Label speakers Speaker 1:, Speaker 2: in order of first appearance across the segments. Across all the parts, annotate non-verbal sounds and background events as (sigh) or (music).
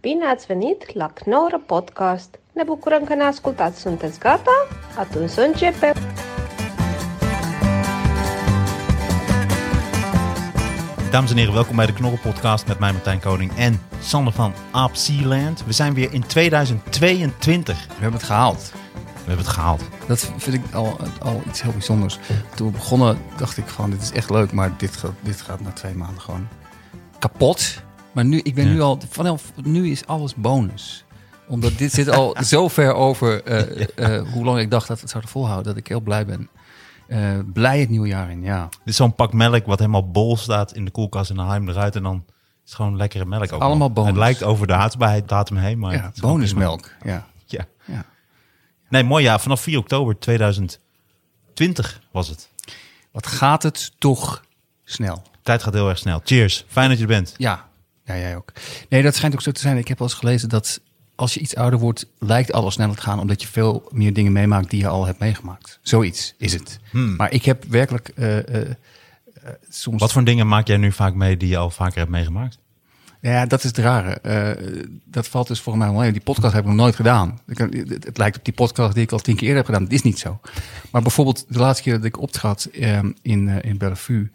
Speaker 1: Bine ați venit la Knorr Podcast! Ne bucurăm că ne ascultați! Sunteți gata? Atunci să începem!
Speaker 2: Dames en heren, welkom bij de Knorren Podcast met mij Martijn Koning en Sander van Apsieland. We zijn weer in 2022.
Speaker 3: We hebben het gehaald.
Speaker 2: We hebben het gehaald.
Speaker 3: Dat vind ik al, al iets heel bijzonders. Toen we begonnen dacht ik gewoon, dit is echt leuk, maar dit gaat, dit gaat na twee maanden gewoon kapot. Maar nu, ik ben
Speaker 2: Ja.
Speaker 3: nu al, vanaf nu is alles bonus. Omdat dit zit
Speaker 2: (laughs)
Speaker 3: al zo ver over eh, eh, hoe lang ik dacht dat we het zouden volhouden, dat ik heel blij ben. Eh, blij het nieuwe jaar in, ja.
Speaker 2: Dit is zo'n pak melk wat helemaal bol staat in de koelkast en dan haal je hem eruit en dan is het gewoon lekkere melk. Ook
Speaker 3: Allemaal
Speaker 2: nog.
Speaker 3: bonus.
Speaker 2: Het lijkt over de houdbaarheid- datum heen, maar...
Speaker 3: ja
Speaker 2: het is gewoon
Speaker 3: bonusmelk, ja.
Speaker 2: prima. Ja.
Speaker 3: ja.
Speaker 2: Nee, mooi ja. Vanaf 4 oktober 2020 was het.
Speaker 3: Wat gaat het toch snel.
Speaker 2: De tijd gaat heel erg snel. Cheers. Fijn dat je er bent.
Speaker 3: Ja, ja, jij ook. Nee, dat schijnt ook zo te zijn. Ik heb wel eens gelezen dat als je iets ouder wordt, lijkt alles sneller te gaan, omdat je veel meer dingen meemaakt die je al hebt meegemaakt. Zoiets is het. Maar ik heb werkelijk eh, eh, eh, soms.
Speaker 2: Wat voor dingen maak jij nu vaak mee die je al vaker hebt meegemaakt?
Speaker 3: Ja, dat is het rare. Eh, dat valt dus voor mij wel. Die podcast heb ik nog nooit gedaan. Ik, kan- het, het lijkt op die podcast die ik al tien keer eerder heb gedaan. Dat is niet zo. Maar bijvoorbeeld de laatste keer dat ik optrad ehm, in, eh, in Bellevue.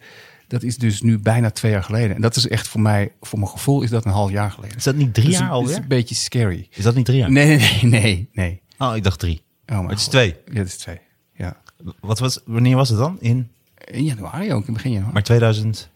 Speaker 3: Dat is dus nu bijna twee jaar geleden. En dat is echt voor mij, voor mijn gevoel, is dat een half jaar geleden.
Speaker 2: Is dat niet drie
Speaker 3: Dus
Speaker 2: jaar
Speaker 3: het is
Speaker 2: alweer?
Speaker 3: een beetje scary.
Speaker 2: Is dat niet drie jaar?
Speaker 3: Nee, nee, nee, nee. nee.
Speaker 2: Oh, ik dacht drie.
Speaker 3: Oh, mijn
Speaker 2: Maar het is
Speaker 3: God.
Speaker 2: twee.
Speaker 3: Ja, het is twee. Ja.
Speaker 2: Wat was, wanneer was het dan? In
Speaker 3: In januari ook, in begin januari.
Speaker 2: maar 2000?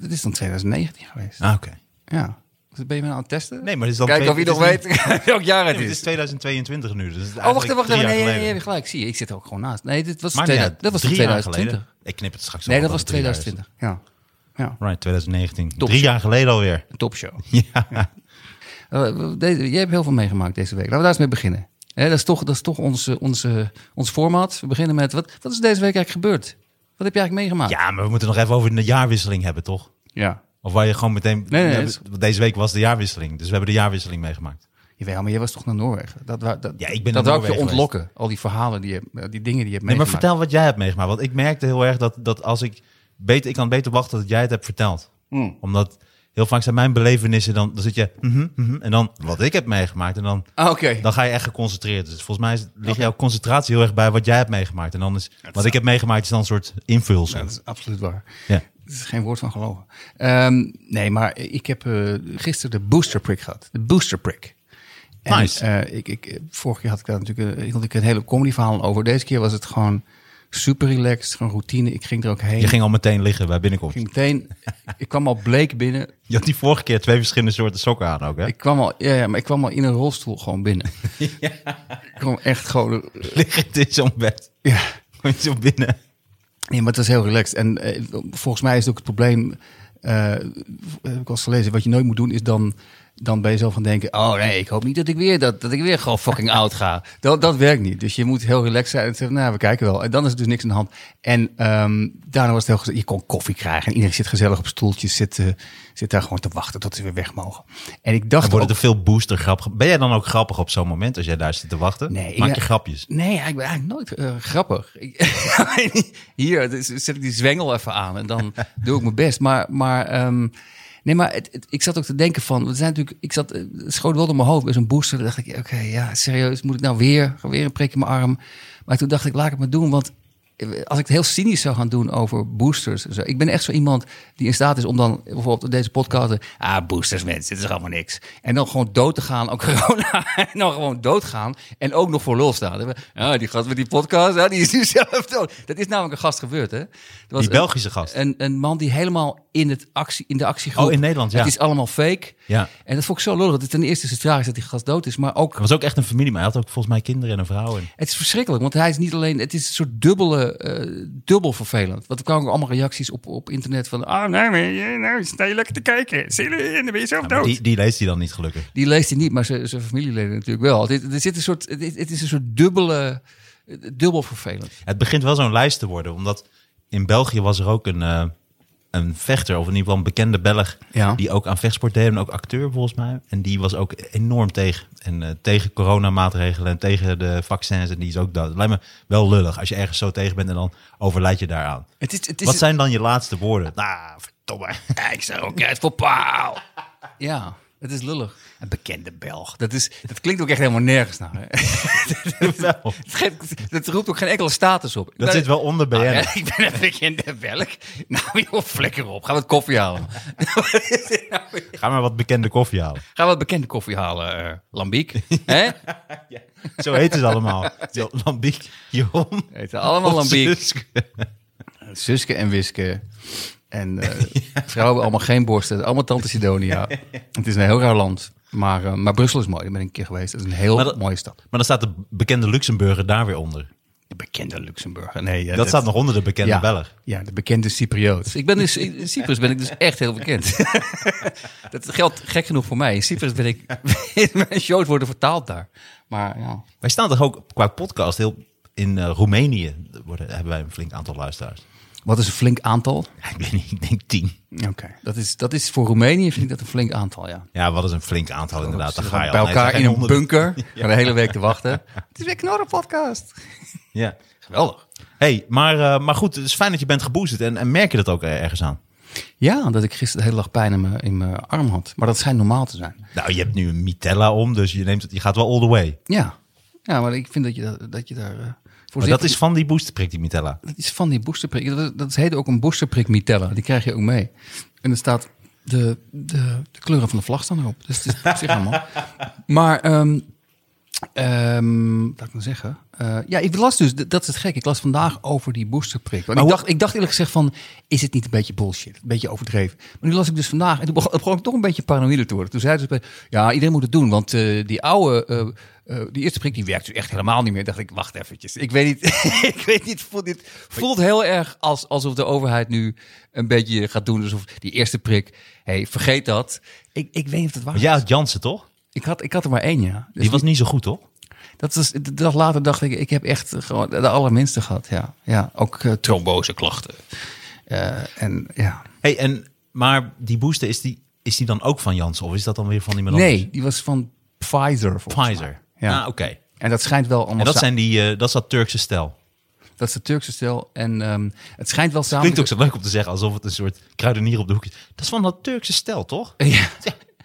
Speaker 3: dat is dan 2019 geweest.
Speaker 2: Ah, oké.
Speaker 3: Ja. Dus Ben je me nou aan het testen?
Speaker 2: Nee, maar het is dan
Speaker 3: Kijk
Speaker 2: twee-
Speaker 3: of je
Speaker 2: het
Speaker 3: nog
Speaker 2: is
Speaker 3: weet (laughs) welk jaar het
Speaker 2: Nee, maar
Speaker 3: is.
Speaker 2: het is 2022 nu. Dus het is
Speaker 3: Oh, wacht even,
Speaker 2: eigenlijk
Speaker 3: wacht
Speaker 2: drie
Speaker 3: even.
Speaker 2: jaar
Speaker 3: Nee, nee, nee,
Speaker 2: geleden.
Speaker 3: heb je gelijk. Zie je, ik zit er ook gewoon naast. Nee, dit was,
Speaker 2: Maakt niet
Speaker 3: 2000,
Speaker 2: uit.
Speaker 3: dat was
Speaker 2: Drie jaar
Speaker 3: 2020.
Speaker 2: geleden. Ik knip het straks
Speaker 3: Nee,
Speaker 2: al
Speaker 3: dat
Speaker 2: op
Speaker 3: was
Speaker 2: het drie jaar is.
Speaker 3: 2020. Ja. Ja,
Speaker 2: Right, 2019.
Speaker 3: Top.
Speaker 2: Drie jaar geleden alweer.
Speaker 3: een topshow.
Speaker 2: (laughs) Ja.
Speaker 3: Eh, deze- jij hebt heel veel meegemaakt deze week. Laten we daar eens mee beginnen. Hè, dat is toch, dat is toch onze, onze, ons format. We beginnen met, wat, wat is deze week eigenlijk gebeurd? Wat heb je eigenlijk meegemaakt?
Speaker 2: ja, maar we moeten nog even over de jaarwisseling hebben, toch?
Speaker 3: ja.
Speaker 2: Of waar je gewoon meteen...
Speaker 3: nee,
Speaker 2: Ja,
Speaker 3: dat
Speaker 2: we-
Speaker 3: is-
Speaker 2: want Deze week was de jaarwisseling. Dus we hebben de jaarwisseling meegemaakt.
Speaker 3: Jawel, maar jij was toch naar Noorwegen? Dat, wou- dat,
Speaker 2: Ja, ik ben
Speaker 3: dat
Speaker 2: naar
Speaker 3: wou ik je
Speaker 2: Noorwegen
Speaker 3: ontlokken. Al die verhalen, die, je, eh, die dingen die je hebt
Speaker 2: Nee, maar
Speaker 3: meegemaakt.
Speaker 2: vertel wat jij hebt meegemaakt. Want ik merkte heel erg dat, dat als ik... Beter, ik kan beter wachten dat jij het hebt verteld.
Speaker 3: Hmm.
Speaker 2: Omdat heel vaak zijn mijn belevenissen dan... Dan zit je... mhm, mhm, en dan wat ik heb meegemaakt. En dan...
Speaker 3: Ah, Oké.
Speaker 2: Dan ga je echt geconcentreerd. Dus volgens mij is- ligt jouw concentratie heel erg bij wat jij hebt meegemaakt. En dan is wat ik heb meegemaakt is dan een soort invulsel.
Speaker 3: Dat is absoluut waar.
Speaker 2: Ja.
Speaker 3: Er is geen woord van geloven. Ehm, nee, maar ik heb eh, gisteren de boosterprik gehad. De boosterprik. En,
Speaker 2: Nice.
Speaker 3: eh, ik, ik, eh, vorige keer had ik daar natuurlijk eh, hield ik een hele comedyverhaal over. Deze keer was het gewoon super relaxed, gewoon routine. Ik ging er ook heen.
Speaker 2: Je ging al meteen liggen bij binnenkomst.
Speaker 3: Ik ging meteen, ik kwam al bleek binnen.
Speaker 2: Je had die vorige keer twee verschillende soorten sokken aan ook, hè?
Speaker 3: Ik kwam al, ja, ja, maar ik kwam al in een rolstoel gewoon
Speaker 2: (laughs)
Speaker 3: binnen. Ik kwam echt gewoon... eh,
Speaker 2: Liggend in zo'n bed.
Speaker 3: ja.
Speaker 2: Kom je zo binnen.
Speaker 3: Nee, maar het is heel relaxed. En eh, volgens mij is het ook het probleem, eh, heb ik al eens gelezen, wat je nooit moet doen is dan, dan bij jezelf gaan denken, oh nee, ik hoop niet dat ik weer, dat, dat ik weer gewoon fucking oud ga. Dat, dat werkt niet. Dus je moet heel relaxed zijn en zeggen, nou, we kijken wel. En dan is er dus niks aan de hand. En ehm, daarna was het heel gezellig. Je kon koffie krijgen en iedereen zit gezellig op stoeltjes, zit, eh, zit daar gewoon te wachten tot ze weer weg mogen. En ik dacht
Speaker 2: Dan worden
Speaker 3: ook-
Speaker 2: er veel booster grappig. Ben jij dan ook grappig op zo'n moment als jij daar zit te wachten?
Speaker 3: Nee,
Speaker 2: Maak
Speaker 3: ja.
Speaker 2: je grapjes.
Speaker 3: Nee, ik ben eigenlijk nooit eh, grappig. (laughs) Ik- Hier dus zet ik die zwengel even aan en dan doe ik mijn best. Maar, maar ehm, nee, maar het- het- ik zat ook te denken van, we zijn natuurlijk, ik zat, eh, het schoot wel door mijn hoofd bij zo'n booster. Dan dacht ik, oké, ja, serieus, moet ik nou weer, weer een prik in mijn arm? Maar toen dacht ik, laat ik het maar doen, want als ik het heel cynisch zou gaan doen over boosters. en Zo. Ik ben echt zo iemand die in staat is om dan bijvoorbeeld op deze podcast. Ah, boosters, mensen, dit is allemaal niks. En dan gewoon dood te gaan aan (laughs) corona. En dan gewoon doodgaan. En ook nog voor lul staan. Ah, die gast met die podcast, ah, die is nu (laughs) zelf dood. Dat is namelijk een gast gebeurd, hè? Er was eh,
Speaker 2: Die
Speaker 3: een-
Speaker 2: Belgische gast.
Speaker 3: een, een man die helemaal in, het actie, in de actiegroep...
Speaker 2: Oh, in Nederland, ja.
Speaker 3: Het is allemaal fake.
Speaker 2: Ja.
Speaker 3: En dat vond ik zo lullig. Dat het ten eerste is het tragisch dat die gast dood is, maar ook...
Speaker 2: Het was ook echt een familie, maar hij had ook volgens mij kinderen en een vrouw. En...
Speaker 3: Het is verschrikkelijk, want hij is niet alleen... Het is een soort dubbele, eh, dubbel vervelend. Want er kwamen ook allemaal reacties op, op internet van... Ah, nee, maar, je- nou, sta je lekker te kijken. Zie je, en dan ben je zelf
Speaker 2: Ja, maar
Speaker 3: dood.
Speaker 2: die, die leest hij dan niet gelukkig.
Speaker 3: Die leest hij niet, maar zijn zijn familieleden natuurlijk wel. Het, er zit een soort, het, het is een soort dubbele... Dubbel vervelend.
Speaker 2: Het begint wel zo'n lijst te worden, omdat in België was er ook een, eh, een vechter, of in ieder geval een bekende Belg,
Speaker 3: Ja.
Speaker 2: die ook aan vechtsport deed en ook acteur volgens mij. En die was ook enorm tegen. En eh, tegen coronamaatregelen en tegen de vaccins en die is ook dat. Lijkt me wel lullig als je ergens zo tegen bent en dan overlijd je daaraan.
Speaker 3: Het is, het is
Speaker 2: Wat
Speaker 3: (laughs)
Speaker 2: (laughs) zijn dan je laatste woorden? Nou, verdomme.
Speaker 3: Kijk zo, kijk voor paal. Ja. Het is lullig. Een bekende Belg. Dat, is, dat klinkt ook echt helemaal nergens naar. Hè? (laughs)
Speaker 2: (laughs) Jawel.
Speaker 3: Het geeft- Dat roept ook geen enkele status op. Ik
Speaker 2: Dat
Speaker 3: ben-
Speaker 2: Nou, zit wel onder BN.
Speaker 3: Ah, (laughs) ja, ik ben een bekende Belg. (laughs) Nou, joh, flikker op. Ga wat koffie halen.
Speaker 2: Ga maar wat bekende koffie
Speaker 3: (laughs)
Speaker 2: halen.
Speaker 3: Ga wat bekende koffie halen, eh, Lambiek. (laughs) Hè?
Speaker 2: Zo heten ze allemaal. Jo- Lambiek, Jom.
Speaker 3: Heet allemaal Lambiek.
Speaker 2: Suske.
Speaker 3: Suske en Wiske. En (laughs) eh, vrouwen allemaal geen borsten. Allemaal Tante Sidonia. (laughs) Het is een heel raar land. Maar, eh, maar Brussel is mooi. Daar ben ik een keer geweest. Het is een heel
Speaker 2: Maar dat-
Speaker 3: mooie stad.
Speaker 2: Maar dan staat de bekende Luxemburger daar weer onder.
Speaker 3: De bekende Luxemburger. Nee, ja,
Speaker 2: Dat staat nog onder de bekende
Speaker 3: ja,
Speaker 2: Belg.
Speaker 3: Ja, de bekende Cyprioot. Ik ben dus, in Cyprus ben ik dus echt heel (laughs) bekend. dat geldt gek genoeg voor mij. In Cyprus ben ik... (laughs) mijn shows worden vertaald daar. Maar ja...
Speaker 2: Wij staan toch ook qua podcast heel in eh, Roemenië. Worden, hebben wij een flink aantal luisteraars. (laughs)
Speaker 3: Wat is een flink aantal?
Speaker 2: Ja, ik weet niet, ik denk tien.
Speaker 3: Oké. Dat, is, dat is voor Roemenië vind ik dat een flink aantal, ja.
Speaker 2: Ja, wat is een flink aantal inderdaad. Daar
Speaker 3: Ze
Speaker 2: ga je
Speaker 3: gaan bij
Speaker 2: al. Nee, het
Speaker 3: elkaar
Speaker 2: zijn
Speaker 3: in een
Speaker 2: honderden. (laughs)
Speaker 3: bunker. Gaan de hele week te wachten. Het is weer knorren podcast.
Speaker 2: Ja.
Speaker 3: Geweldig.
Speaker 2: Hey, maar, eh, maar goed, het is fijn dat je bent geboosterd. En, en merk je dat ook eh, ergens aan?
Speaker 3: Ja, dat ik gisteren de hele dag pijn in mijn, in mijn arm had. Maar dat schijnt normaal te zijn.
Speaker 2: Nou, je hebt nu een Mitella om, dus je, neemt het, je gaat wel all the way.
Speaker 3: Ja, ja maar ik vind dat je, dat, dat je daar... eh,
Speaker 2: Maar
Speaker 3: voorzichtig-
Speaker 2: dat is van die boosterprik, die Mitella.
Speaker 3: dat is van die boosterprik. Dat, dat heet ook een boosterprik Mitella. Die krijg je ook mee. En er staat de, de, de kleuren van de vlag staan erop. Dus het is op zich allemaal. Maar, ehm ehm, wat kan ik nou zeggen? Eh, ja, ik las dus, dat is het gek. Ik las vandaag over die boosterprik. Want ik,
Speaker 2: hoe-
Speaker 3: dacht, ik dacht eerlijk gezegd van, is het niet een beetje bullshit? Een beetje overdreven. Maar nu las ik dus vandaag, en toen begon, begon ik toch een beetje paranoïde te worden. Toen zei ze, bij- ja, iedereen moet het doen. Want eh, die oude, eh, eh, die eerste prik, die werkt dus echt helemaal niet meer. Dacht ik, wacht eventjes. Ik weet niet, (laughs) ik weet niet, voelt, dit voelt heel erg als, alsof de overheid nu een beetje gaat doen. Alsof die eerste prik, hey, vergeet dat. Ik, ik weet niet of dat waar
Speaker 2: Maar
Speaker 3: is.
Speaker 2: jij had Jansen, toch?
Speaker 3: Ik had, ik had er maar één, ja. Dus
Speaker 2: Die was niet zo goed, toch?
Speaker 3: dat was, de dag later dacht ik, ik heb echt gewoon de allerminste gehad. Ja, ja ook eh, tromboseklachten. Eh, en ja.
Speaker 2: Hey, en, maar die booster, is die, is die dan ook van Janssen? Of is dat dan weer van iemand anders?
Speaker 3: Nee, die was van Pfizer. volgens
Speaker 2: Pfizer.
Speaker 3: mij. Ja.
Speaker 2: Ah, oké.
Speaker 3: En dat schijnt wel allemaal
Speaker 2: En dat,
Speaker 3: sa-
Speaker 2: zijn die, eh, dat is dat Turkse stel.
Speaker 3: dat is de Turkse stijl. En ehm, het schijnt wel samen...
Speaker 2: Klinkt ook zo leuk om te zeggen, alsof het een soort kruidenier op de hoek is. Dat is van dat Turkse stel, toch?
Speaker 3: (laughs) Ja.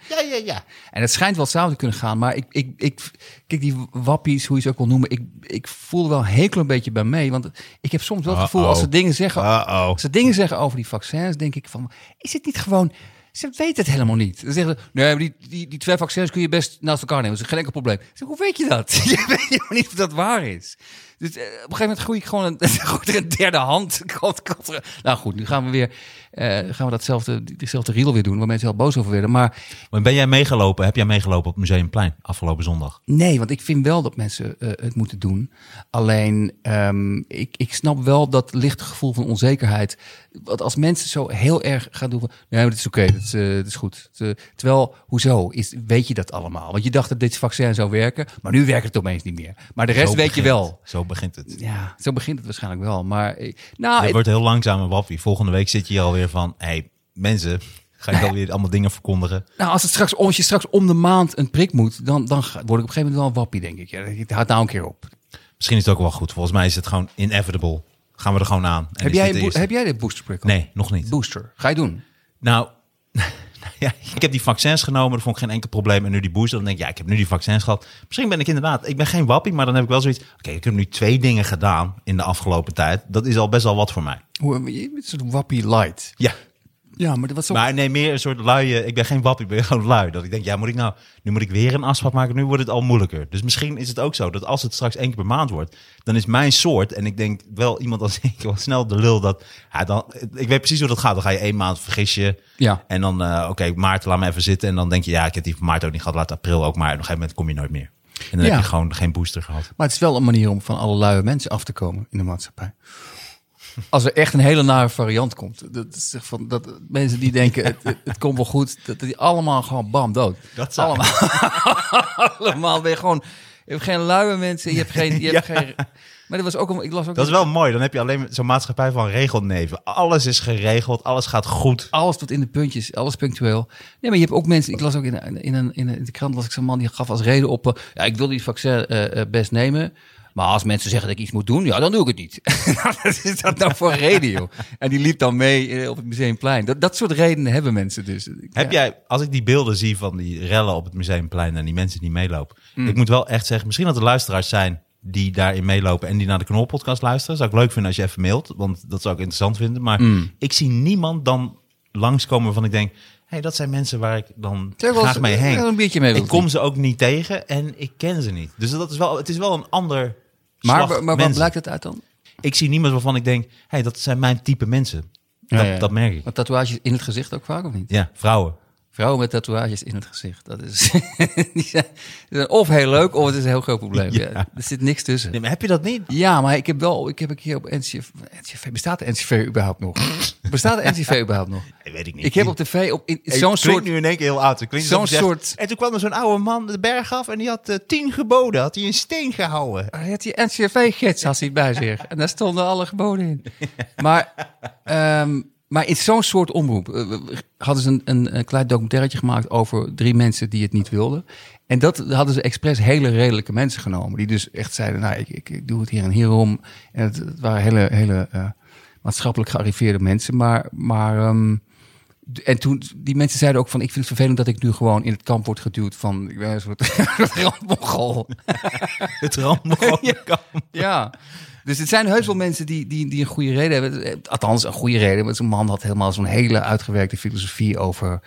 Speaker 2: Ja, ja, ja.
Speaker 3: En het schijnt wel samen te kunnen gaan, maar ik, ik, ik, kijk, die wappies, hoe je ze ook wil noemen, ik, ik voel wel een heel klein beetje bij mee. Want ik heb soms wel het gevoel,
Speaker 2: Uh-oh.
Speaker 3: als ze dingen zeggen,
Speaker 2: Uh-oh.
Speaker 3: als ze dingen zeggen over die vaccins, denk ik van, is het niet gewoon, ze weten het helemaal niet. Ze zeggen, nee, maar die, die, die twee vaccins kun je best naast elkaar nemen, dat is geen enkel probleem. Ik zeg, hoe weet je dat? (laughs) je weet helemaal niet of dat waar is. Dus eh, op een gegeven moment groei ik gewoon een, (laughs) groeit er een derde hand. (laughs) Komt- komt er- Nou goed, nu gaan we weer eh, gaan we datzelfde, diezelfde riedel weer doen, waar mensen heel boos over werden. Maar
Speaker 2: Maar ben jij meegelopen? Heb jij meegelopen op Museumplein afgelopen zondag?
Speaker 3: Nee, want ik vind wel dat mensen eh, het moeten doen. Alleen, ehm, ik, ik snap wel dat lichte gevoel van onzekerheid. Want als mensen zo heel erg gaan doen van... Nee, maar dit is oké, dit, is, eh, dit is goed. Te- terwijl, hoezo? Is, weet je dat allemaal? Want je dacht dat dit vaccin zou werken, maar nu werkt het opeens niet meer. Maar de rest
Speaker 2: Zo
Speaker 3: weet je
Speaker 2: begint-
Speaker 3: wel.
Speaker 2: Zo begint het.
Speaker 3: Ja, zo begint het waarschijnlijk wel. Maar, eh, nou,
Speaker 2: Het
Speaker 3: het-
Speaker 2: wordt heel langzaam een wappie. Volgende week zit je hier alweer van... hey, mensen, ga ik alweer allemaal dingen verkondigen?
Speaker 3: Nou, als, het straks, als je straks om de maand een prik moet, dan, dan ga- word ik op een gegeven moment wel een wappie, denk ik. Ja, ik- houd nou een keer op.
Speaker 2: Misschien is het ook wel goed. Volgens mij is het gewoon inevitable. Gaan we er gewoon aan. En
Speaker 3: Heb
Speaker 2: is dit
Speaker 3: jij, een
Speaker 2: de
Speaker 3: boe-
Speaker 2: eerste?
Speaker 3: heb jij de boosterprik? al?
Speaker 2: Nee, nog niet.
Speaker 3: Booster. Ga je doen?
Speaker 2: Nou, (laughs) nou ja, ik heb die vaccins genomen, dat vond ik geen enkel probleem. En nu die booster, dan denk ik, ja, ik heb nu die vaccins gehad. Misschien ben ik inderdaad, ik ben geen wappie, maar dan heb ik wel zoiets. Oké, ik heb nu twee dingen gedaan in de afgelopen tijd. Dat is al best wel wat voor mij.
Speaker 3: Hoe, je bent een soort wappie light.
Speaker 2: Ja,
Speaker 3: Ja, maar dat was zo...
Speaker 2: maar nee, meer een soort luie, ik ben geen wappie, ik ben gewoon lui. Dat ik denk, ja, moet ik nou, nu moet ik weer een afspraak maken, nu wordt het al moeilijker. Dus misschien is het ook zo, dat als het straks één keer per maand wordt, dan is mijn soort, en ik denk wel iemand als (laughs) ik, wel snel de lul dat, ja, dan, ik weet precies hoe dat gaat. Dan ga je één maand vergis je.
Speaker 3: Ja.
Speaker 2: En dan, eh, oké, maart, laat me even zitten. En dan denk je, ja, ik heb die van maart ook niet gehad. Laat april ook maar. En op een gegeven moment kom je nooit meer. En dan
Speaker 3: Ja.
Speaker 2: heb je gewoon geen booster gehad.
Speaker 3: Maar het is wel een manier om van alle luie mensen af te komen in de maatschappij. Als er echt een hele nare variant komt. Dat, is echt van, dat mensen die denken, het, het, het komt wel goed. Dat, dat die allemaal gewoon bam, dood.
Speaker 2: Dat zou-
Speaker 3: allemaal. (laughs) allemaal ben je gewoon... Je hebt geen luie mensen, je hebt geen... Je hebt geen maar dat was ook... een- Ik las ook
Speaker 2: Dat is wel mooi. Dan heb je alleen maar zo'n maatschappij van regelneven. Alles is geregeld. Alles gaat goed.
Speaker 3: Alles tot in de puntjes, alles punctueel. Nee, maar je hebt ook mensen. Ik las ook in, in, een, in, een- in de krant las ik zo'n man die gaf als reden op. eh, ja, ik wil die vaccin eh, eh, best nemen. Maar als mensen zeggen dat ik iets moet doen, ja, dan doe ik het niet. (laughs) Wat is dat nou voor reden, joh? En die liep dan mee eh, op het museumplein. Dat, dat soort redenen hebben mensen dus.
Speaker 2: Heb jij, als ik die beelden zie van die rellen op het Museumplein en die mensen die meelopen.
Speaker 3: Mm.
Speaker 2: Ik moet wel echt zeggen, misschien dat er luisteraars zijn die daarin meelopen en die naar de Knolpodcast luisteren. Zou ik leuk vinden als je even mailt, want dat zou ik interessant vinden. Maar
Speaker 3: Mm.
Speaker 2: ik zie niemand dan langskomen waarvan ik denk, hey, dat zijn mensen waar ik dan
Speaker 3: Zeg wel eens,
Speaker 2: graag mee
Speaker 3: eh,
Speaker 2: heen.
Speaker 3: een biertje mee
Speaker 2: ik
Speaker 3: wilt
Speaker 2: kom ze ook niet tegen en ik ken ze niet. Dus dat is wel, het is wel een ander
Speaker 3: Maar,
Speaker 2: slag
Speaker 3: maar, maar wat
Speaker 2: mensen.
Speaker 3: blijkt het uit dan?
Speaker 2: Ik zie niemand waarvan ik denk, hey, dat zijn mijn type mensen.
Speaker 3: Ja,
Speaker 2: dat,
Speaker 3: ja.
Speaker 2: dat merk ik.
Speaker 3: Want tatoeages in het gezicht ook vaak, of niet?
Speaker 2: Ja, vrouwen.
Speaker 3: Vrouwen met tatoeages in het gezicht. Dat is (laughs) die zijn, die zijn of heel leuk, of het is een heel groot probleem.
Speaker 2: Ja.
Speaker 3: Ja. er zit niks tussen.
Speaker 2: Nee, maar heb je dat niet?
Speaker 3: Ja, maar ik heb wel, ik heb een keer op NCV, NCV bestaat de NCV überhaupt
Speaker 2: (laughs)
Speaker 3: nog? bestaat de NCV überhaupt nog?
Speaker 2: Nee, weet ik niet.
Speaker 3: Ik heb op tv op in,
Speaker 2: Hey,
Speaker 3: zo'n
Speaker 2: het klinkt
Speaker 3: soort,
Speaker 2: nu in één keer heel oud. Het klinkt
Speaker 3: zo'n
Speaker 2: alsof je zegt-
Speaker 3: soort-
Speaker 2: En toen kwam er zo'n oude man de berg af en die had eh, tien geboden. Had hij een steen
Speaker 3: (laughs)
Speaker 2: gehouden.
Speaker 3: hij had Oh, die NCV-gids had hij bij zich. En daar stonden alle geboden in. Maar, ehm, maar in zo'n soort omroep eh, we- hadden ze een, een, een klein documentairetje gemaakt over drie mensen die het niet wilden. En dat hadden ze expres hele redelijke mensen genomen. Die dus echt zeiden, nou, ik, ik, ik doe het hier en hierom. En het, het waren hele, hele eh, maatschappelijk gearriveerde mensen. Maar, maar ehm, D- En toen, die mensen zeiden ook van, ik vind het vervelend dat ik nu gewoon in het kamp word geduwd van, ik ben een soort (laughs) randmogol.
Speaker 2: Het rammen (laughs)
Speaker 3: ja. (laughs) Dus het zijn heus wel mensen die, die, die een goede reden hebben. Eh, Althans, een goede reden. Want zo'n man had helemaal zo'n hele uitgewerkte filosofie over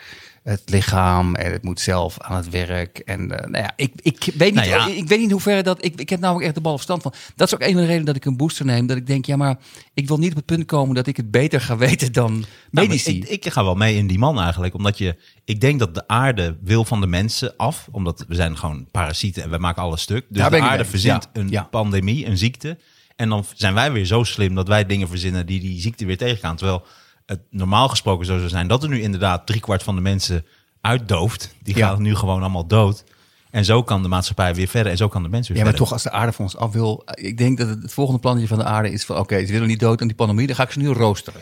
Speaker 3: het lichaam. En het moet zelf aan het werk. En eh, nou ja, ik, ik, weet niet,
Speaker 2: Nou ja.
Speaker 3: ik, ik weet niet in hoeverre dat... Ik, ik heb namelijk echt de bal op stand van. Dat is ook een van de redenen dat ik een booster neem. Dat ik denk, ja, maar ik wil niet op het punt komen dat ik het beter ga weten dan medici.
Speaker 2: Nou, ik, ik ga wel mee in die man eigenlijk. Omdat je, ik denk dat de aarde wil van de mensen af. Omdat we zijn gewoon parasieten en we maken alles stuk. Dus
Speaker 3: Daar ben
Speaker 2: de
Speaker 3: ik het
Speaker 2: aarde
Speaker 3: mee.
Speaker 2: verzint
Speaker 3: Ja,
Speaker 2: een
Speaker 3: ja.
Speaker 2: pandemie, een ziekte. En dan zijn wij weer zo slim dat wij dingen verzinnen die die ziekte weer tegengaan. Terwijl het normaal gesproken zo zou zijn dat er nu inderdaad driekwart van de mensen uitdooft. Die
Speaker 3: Ja.
Speaker 2: gaan nu gewoon allemaal dood. En zo kan de maatschappij weer verder en zo kan de mens weer
Speaker 3: Ja, maar
Speaker 2: verder.
Speaker 3: toch, als de aarde van ons af wil... Ik denk dat het, het volgende plannetje van de aarde is van... Oké, ze willen niet dood aan die pandemie, dan ga ik ze nu roosteren.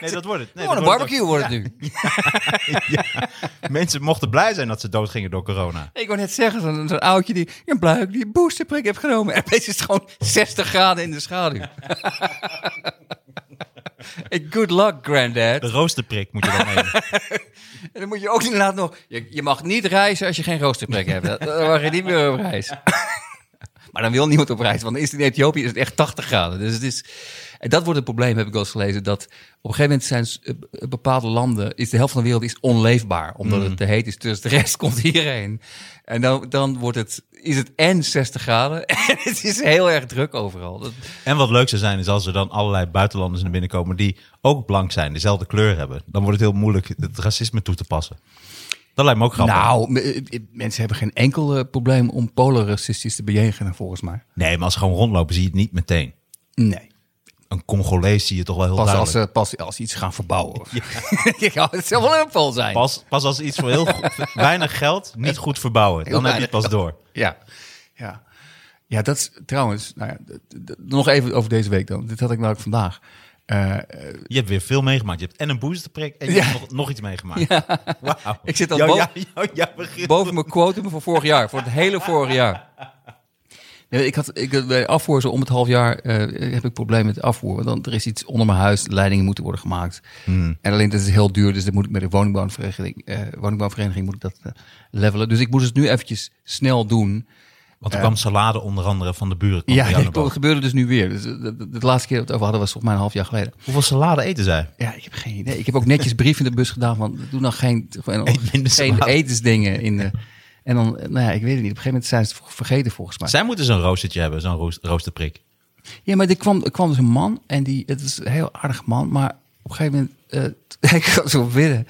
Speaker 2: Nee, dat wordt het. Nee,
Speaker 3: (laughs) oh, een
Speaker 2: dat wordt het
Speaker 3: barbecue wordt het nu.
Speaker 2: ook. Mensen mochten blij zijn dat ze doodgingen door corona.
Speaker 3: Ik wou net zeggen, zo'n zo'n oudje die een bluik die een boosterprik heeft genomen. En opeens is het gewoon 60 graden in de schaduw. Hey, Good luck, granddad.
Speaker 2: De roosterprik moet je dan
Speaker 3: (laughs)
Speaker 2: nemen.
Speaker 3: En dan moet je ook inderdaad nog... Je, je mag niet reizen als je geen roosterprik hebt. Dan dan mag je niet meer op reis. (laughs) Maar dan wil niemand op reis, want is in Ethiopië is het echt 80 graden. Dus het is, en dat wordt het probleem, heb ik wel eens gelezen. Dat op een gegeven moment zijn s- eh, b- bepaalde landen, is de helft van de wereld is onleefbaar. Omdat het te heet is, dus de rest (laughs) komt hierheen. En dan, dan wordt het, is het en 60 graden (laughs) en het is heel erg druk overal. Dat,
Speaker 2: En wat leuk zou zijn, is als er dan allerlei buitenlanders naar binnen komen die ook blank zijn, dezelfde kleur hebben. Dan wordt het heel moeilijk het racisme toe te passen. Dat lijkt me ook grappig.
Speaker 3: nou, m- eh, eh, mensen hebben geen enkel eh, probleem om Polen racistisch te bejegenen, volgens mij.
Speaker 2: Nee, maar als ze gewoon rondlopen, zie je het niet meteen.
Speaker 3: Nee.
Speaker 2: Een Congolees zie je toch wel heel
Speaker 3: Pas als,
Speaker 2: duidelijk.
Speaker 3: ze, pas als ze iets gaan verbouwen. (laughs) Ja. het zal wel een val zijn.
Speaker 2: Pas, pas als ze iets voor heel
Speaker 3: (laughs)
Speaker 2: go- weinig geld niet goed verbouwen. Dan heb je het pas door.
Speaker 3: Ja, ja. Ja, dat is trouwens. Nou ja, d- d- nog even over deze week dan. Dit had ik namelijk vandaag. Eh,
Speaker 2: Je hebt weer veel meegemaakt. Je hebt en een boosterprik en je
Speaker 3: Ja.
Speaker 2: hebt nog, nog iets meegemaakt. Wauw.
Speaker 3: Ik zit al
Speaker 2: Jou-
Speaker 3: boven-
Speaker 2: jou- jou- jou begint-
Speaker 3: boven mijn quotum van vorig jaar, voor het hele vorig jaar. Nee, ik had, ik, had bij afvoer zo om het half jaar eh, heb ik problemen met afvoer. Want dan, er is iets onder mijn huis, leidingen moeten worden gemaakt. En alleen dat is heel duur, dus dat moet ik met de woningbouwvereniging, eh, woningbouwvereniging moet ik dat eh, levelen. Dus ik moest het nu eventjes snel doen.
Speaker 2: Want er kwam salade onder andere van de buren. kwam bij jou
Speaker 3: ja,
Speaker 2: naar boven.
Speaker 3: dat gebeurde dus nu weer. Dus, eh, de, de- de laatste keer dat we het over hadden was volgens mij een half jaar geleden.
Speaker 2: Hoeveel salade eten zij?
Speaker 3: Ja, ik heb geen idee. Ik heb ook netjes brief in de bus gedaan van doe nou geen, (laughs) gewoon
Speaker 2: Eet minder
Speaker 3: geen
Speaker 2: salade.
Speaker 3: etensdingen in de. En dan, nou ja, ik weet het niet. Op een gegeven moment zijn ze het vergeten volgens mij.
Speaker 2: Zij moeten zo'n roostertje hebben, zo'n roos- roosterprik.
Speaker 3: Ja, maar er kwam, er kwam dus een man en die, het is een heel aardig man, maar op een gegeven moment, eh, (laughs) ik had zo binnen.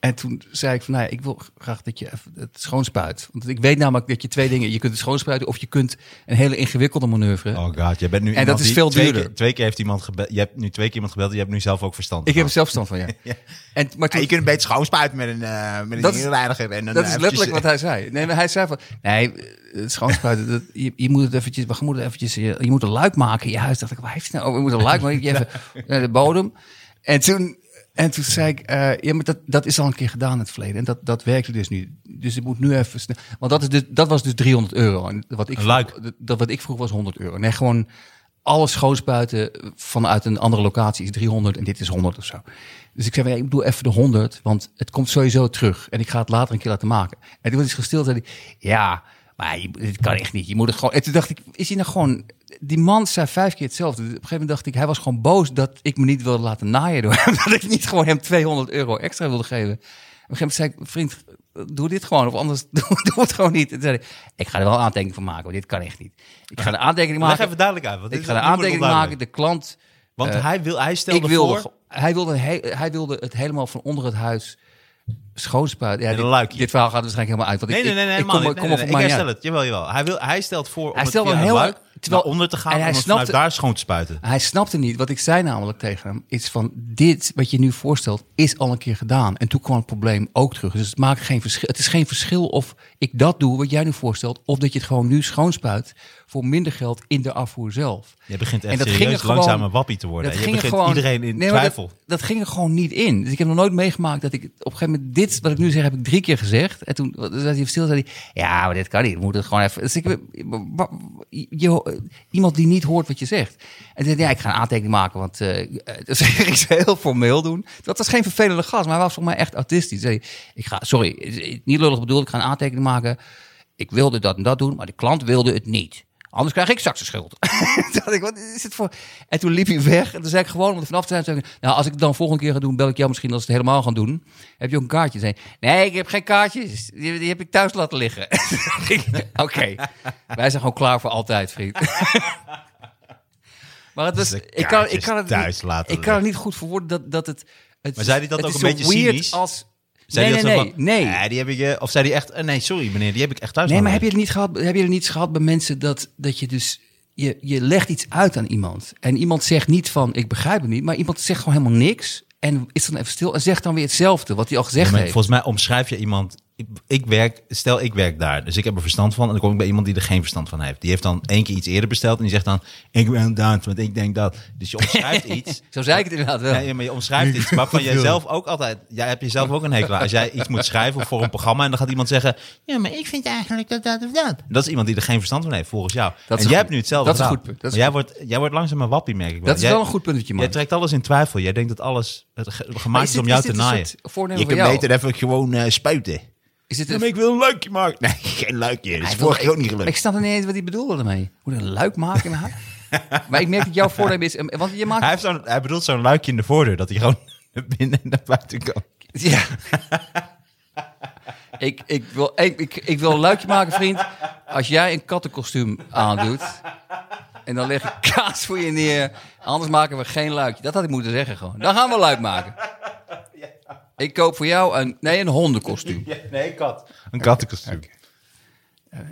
Speaker 3: En toen zei ik van, nou ja, ik wil graag dat je even het schoonspuit. Want ik weet namelijk dat je twee dingen, je kunt het schoonspuiten of je kunt een hele ingewikkelde manoeuvre.
Speaker 2: Oh god, je bent nu.
Speaker 3: En
Speaker 2: iemand
Speaker 3: dat is
Speaker 2: die
Speaker 3: veel
Speaker 2: twee
Speaker 3: duurder.
Speaker 2: Keer, twee keer heeft iemand gebeld. Je hebt nu twee keer iemand gebeld. en Je hebt nu zelf ook verstand.
Speaker 3: Ik heb er
Speaker 2: ervan.
Speaker 3: zelfstand van, (laughs) ja. En, maar toen,
Speaker 2: kunt een beetje schoonspuiten met een uh, met
Speaker 3: Dat is-
Speaker 2: reiniger en eh, dan
Speaker 3: Dat is
Speaker 2: eventjes-
Speaker 3: letterlijk wat hij zei. Nee, maar hij zei van, nee, eh,
Speaker 2: (laughs)
Speaker 3: het schoonspuiten, dat, je, je moet het eventjes, we moeten eventjes, je, je moet een luik maken in je huis. Dacht ik, waar heeft hij nou over? Je moet een luik maken, je even naar de bodem. En toen En toen zei ik, eh, ja, maar dat, dat is al een keer gedaan in het verleden. En dat, dat werkte dus nu. Dus ik moet nu even snel. Want dat, is dus, dat was dus 300 euro. En wat ik,
Speaker 2: Een
Speaker 3: vroeg-
Speaker 2: luik.
Speaker 3: dat- dat, wat ik vroeg was 100 euro. Nee, gewoon alles schoonspuiten vanuit een andere locatie is 300 en dit is 100 of zo. Dus ik zei, van, ja, ik doe even de 100, want het komt sowieso terug. En ik ga het later een keer laten maken. En toen was hij gestild zei hij, ja, maar je, dit kan echt niet. Je moet het gewoon... En toen dacht ik, is hij nou gewoon... Die man zei vijf keer hetzelfde. Dus op een gegeven moment dacht ik, hij was gewoon boos dat ik me niet wilde laten naaien door hem. (laughs) Dat ik niet gewoon hem 200 euro extra wilde geven. Op een gegeven moment zei ik, vriend, doe dit gewoon. Of anders (laughs) doe, doe het gewoon niet. En toen zei hij, ik ga er wel een aantekening van maken, want dit kan echt niet. Ik ga een aantekening
Speaker 2: Leg
Speaker 3: maken.
Speaker 2: even duidelijk uit. Want
Speaker 3: Ik
Speaker 2: dit
Speaker 3: ga
Speaker 2: is
Speaker 3: een
Speaker 2: niemand
Speaker 3: aantekening
Speaker 2: onduidelijk.
Speaker 3: maken. De klant.
Speaker 2: Want
Speaker 3: eh,
Speaker 2: hij, wil, hij
Speaker 3: Ik
Speaker 2: stelde
Speaker 3: wilde,
Speaker 2: voor...
Speaker 3: ge- hij, wilde he- hij wilde het helemaal van onder het huis schoonspuiten. Ja,
Speaker 2: Met een
Speaker 3: dit,
Speaker 2: luikje.
Speaker 3: dit verhaal gaat waarschijnlijk helemaal uit. Want
Speaker 2: Nee,
Speaker 3: ik,
Speaker 2: nee, nee,
Speaker 3: ik-
Speaker 2: nee,
Speaker 3: ik
Speaker 2: helemaal
Speaker 3: kom,
Speaker 2: niet.
Speaker 3: kom
Speaker 2: Nee,
Speaker 3: er
Speaker 2: nee,
Speaker 3: voor
Speaker 2: nee,
Speaker 3: mij
Speaker 2: ik
Speaker 3: niet
Speaker 2: herstel het. Jawel, jawel. Hij, wil, hij stelt voor
Speaker 3: Hij
Speaker 2: om
Speaker 3: stelde
Speaker 2: het
Speaker 3: een
Speaker 2: via
Speaker 3: heel-
Speaker 2: een luik
Speaker 3: terwijl-
Speaker 2: naar onder te gaan
Speaker 3: en
Speaker 2: en
Speaker 3: hij
Speaker 2: om het
Speaker 3: snapte-
Speaker 2: vanuit daar schoon te spuiten.
Speaker 3: uit. Hij snapte niet, wat ik zei namelijk tegen hem, is van dit wat je nu voorstelt is al een keer gedaan. En toen kwam het probleem ook terug. Dus het maakt geen verschil. Het is geen verschil of ik dat doe wat jij nu voorstelt, of dat je het gewoon nu schoonspuit voor minder geld in de afvoer zelf.
Speaker 2: Je begint echt
Speaker 3: dat ging er
Speaker 2: serieus
Speaker 3: gewoon-
Speaker 2: langzaam een wappie te worden.
Speaker 3: Dat
Speaker 2: Je
Speaker 3: ging er
Speaker 2: begint
Speaker 3: gewoon-
Speaker 2: iedereen in
Speaker 3: Nee, maar
Speaker 2: twijfel.
Speaker 3: Dat, dat ging er gewoon niet in. Dus ik heb nog nooit meegemaakt dat ik op een gegeven moment dit, wat ik nu zeg, heb ik drie keer gezegd. En toen was hij even stil, zei hij, ja, maar dit kan niet. We moeten het gewoon even. Dus ik, wa- je, iemand die niet hoort wat je zegt. En toen zei hij, ja, ik ga een aantekening maken, want eh, eh, (laughs) dus ik zou heel formeel doen. Dat was geen vervelende gast, maar hij was voor mij echt autistisch. Zei hij, ik ga, sorry, eh, niet lullig bedoeld, ik ga een aantekening maken. Ik wilde dat en dat doen, maar de klant wilde het niet. Anders krijg ik straks een schuld. (laughs) Toen dacht ik, wat is het voor... En toen liep hij weg. En toen zei ik gewoon, om er vanaf te zijn, zei ik, nou, als ik het dan volgende keer ga doen, bel ik jou misschien als we het helemaal gaan doen. Heb je ook een kaartje? Zei, hij, nee, ik heb geen kaartjes. Die, die heb ik thuis laten liggen. (laughs) Toen dacht ik, Oké, wij zijn gewoon klaar voor altijd, vriend. (laughs) maar het was,
Speaker 2: Dus de
Speaker 3: ik kan, ik
Speaker 2: kaartjes
Speaker 3: kan het
Speaker 2: thuis
Speaker 3: niet,
Speaker 2: laten
Speaker 3: ik kan het
Speaker 2: liggen.
Speaker 3: niet goed verwoorden dat, dat het... het
Speaker 2: Maar zei hij dat
Speaker 3: het
Speaker 2: ook
Speaker 3: is
Speaker 2: een
Speaker 3: zo
Speaker 2: beetje
Speaker 3: weird
Speaker 2: cynisch?
Speaker 3: Als,
Speaker 2: Zei
Speaker 3: nee,
Speaker 2: hij
Speaker 3: nee,
Speaker 2: dat zo
Speaker 3: nee,
Speaker 2: van,
Speaker 3: nee.
Speaker 2: "Nee, die heb ik, eh," of zei hij echt, eh, nee, sorry meneer, die heb ik echt thuis
Speaker 3: Nee, maar
Speaker 2: laten
Speaker 3: heb je het niet gehad? Hebben jullie niet gehad bij mensen dat, dat je dus. Je, je legt iets uit aan iemand. En iemand zegt niet van ik begrijp het niet, maar iemand zegt gewoon helemaal niks. En is dan even stil en zegt dan weer hetzelfde wat hij al gezegd
Speaker 2: Ja, maar
Speaker 3: heeft.
Speaker 2: Volgens mij omschrijf je iemand. Ik, ik werk, stel ik werk daar, dus ik heb er verstand van. En dan kom ik bij iemand die er geen verstand van heeft. Die heeft dan één keer iets eerder besteld en die zegt dan: Ik ben dat, want ik denk dat. Dus je
Speaker 3: (laughs)
Speaker 2: omschrijft iets.
Speaker 3: Zo zei ik het inderdaad wel.
Speaker 2: Ja, ja, maar je omschrijft iets waarvan jij zelf ook altijd. Jij hebt jezelf ook een hekel aan. Als jij iets moet schrijven of voor een programma en dan gaat iemand zeggen: Ja, maar ik vind eigenlijk dat dat of dat. Dat is iemand die er geen verstand van heeft, volgens jou.
Speaker 3: is
Speaker 2: en
Speaker 3: een
Speaker 2: jij
Speaker 3: goed-
Speaker 2: hebt nu hetzelfde.
Speaker 3: dat is een
Speaker 2: gedaan.
Speaker 3: goed punt, dat is
Speaker 2: Maar jij, wordt, jij wordt langzaam een wappie, merk ik wel.
Speaker 3: dat is
Speaker 2: Jij-
Speaker 3: wel een goed punt dat je
Speaker 2: Jij
Speaker 3: maakt.
Speaker 2: trekt alles in twijfel. Jij denkt dat alles eh, ge-
Speaker 3: Maar
Speaker 2: gemaakt is,
Speaker 3: dit-
Speaker 2: om jou te
Speaker 3: dit een
Speaker 2: naaien.
Speaker 3: soort voornemen
Speaker 2: Je
Speaker 3: van
Speaker 2: kunt
Speaker 3: jou?
Speaker 2: beter even gewoon eh, spuiten.
Speaker 3: Is dit
Speaker 2: Ja,
Speaker 3: een-
Speaker 2: maar ik wil een luikje maken. Nee, geen luikje. Dat is
Speaker 3: Hij
Speaker 2: vorige
Speaker 3: wil-
Speaker 2: keer ook niet
Speaker 3: Ik
Speaker 2: gelukt.
Speaker 3: snap dan niet eens wat hij bedoelde ermee. Hoe een luik maken in haar.
Speaker 2: (laughs)
Speaker 3: maar ik merk dat jouw voornemen is. Want je maakt.
Speaker 2: Hij, heeft zo'n, hij bedoelt zo'n luikje in de voordeur, dat hij gewoon (laughs) naar binnen en naar buiten kan.
Speaker 3: Ja. ik, ik, wil, ik, ik, ik wil een luikje maken, vriend. Als jij een kattenkostuum aandoet. En dan leg ik kaas voor je neer. Anders maken we geen luikje. Dat had ik moeten zeggen gewoon. Dan gaan we luik maken. Ik koop voor jou een, nee, een hondenkostuum.
Speaker 2: nee, kat. Een kattenkostuum.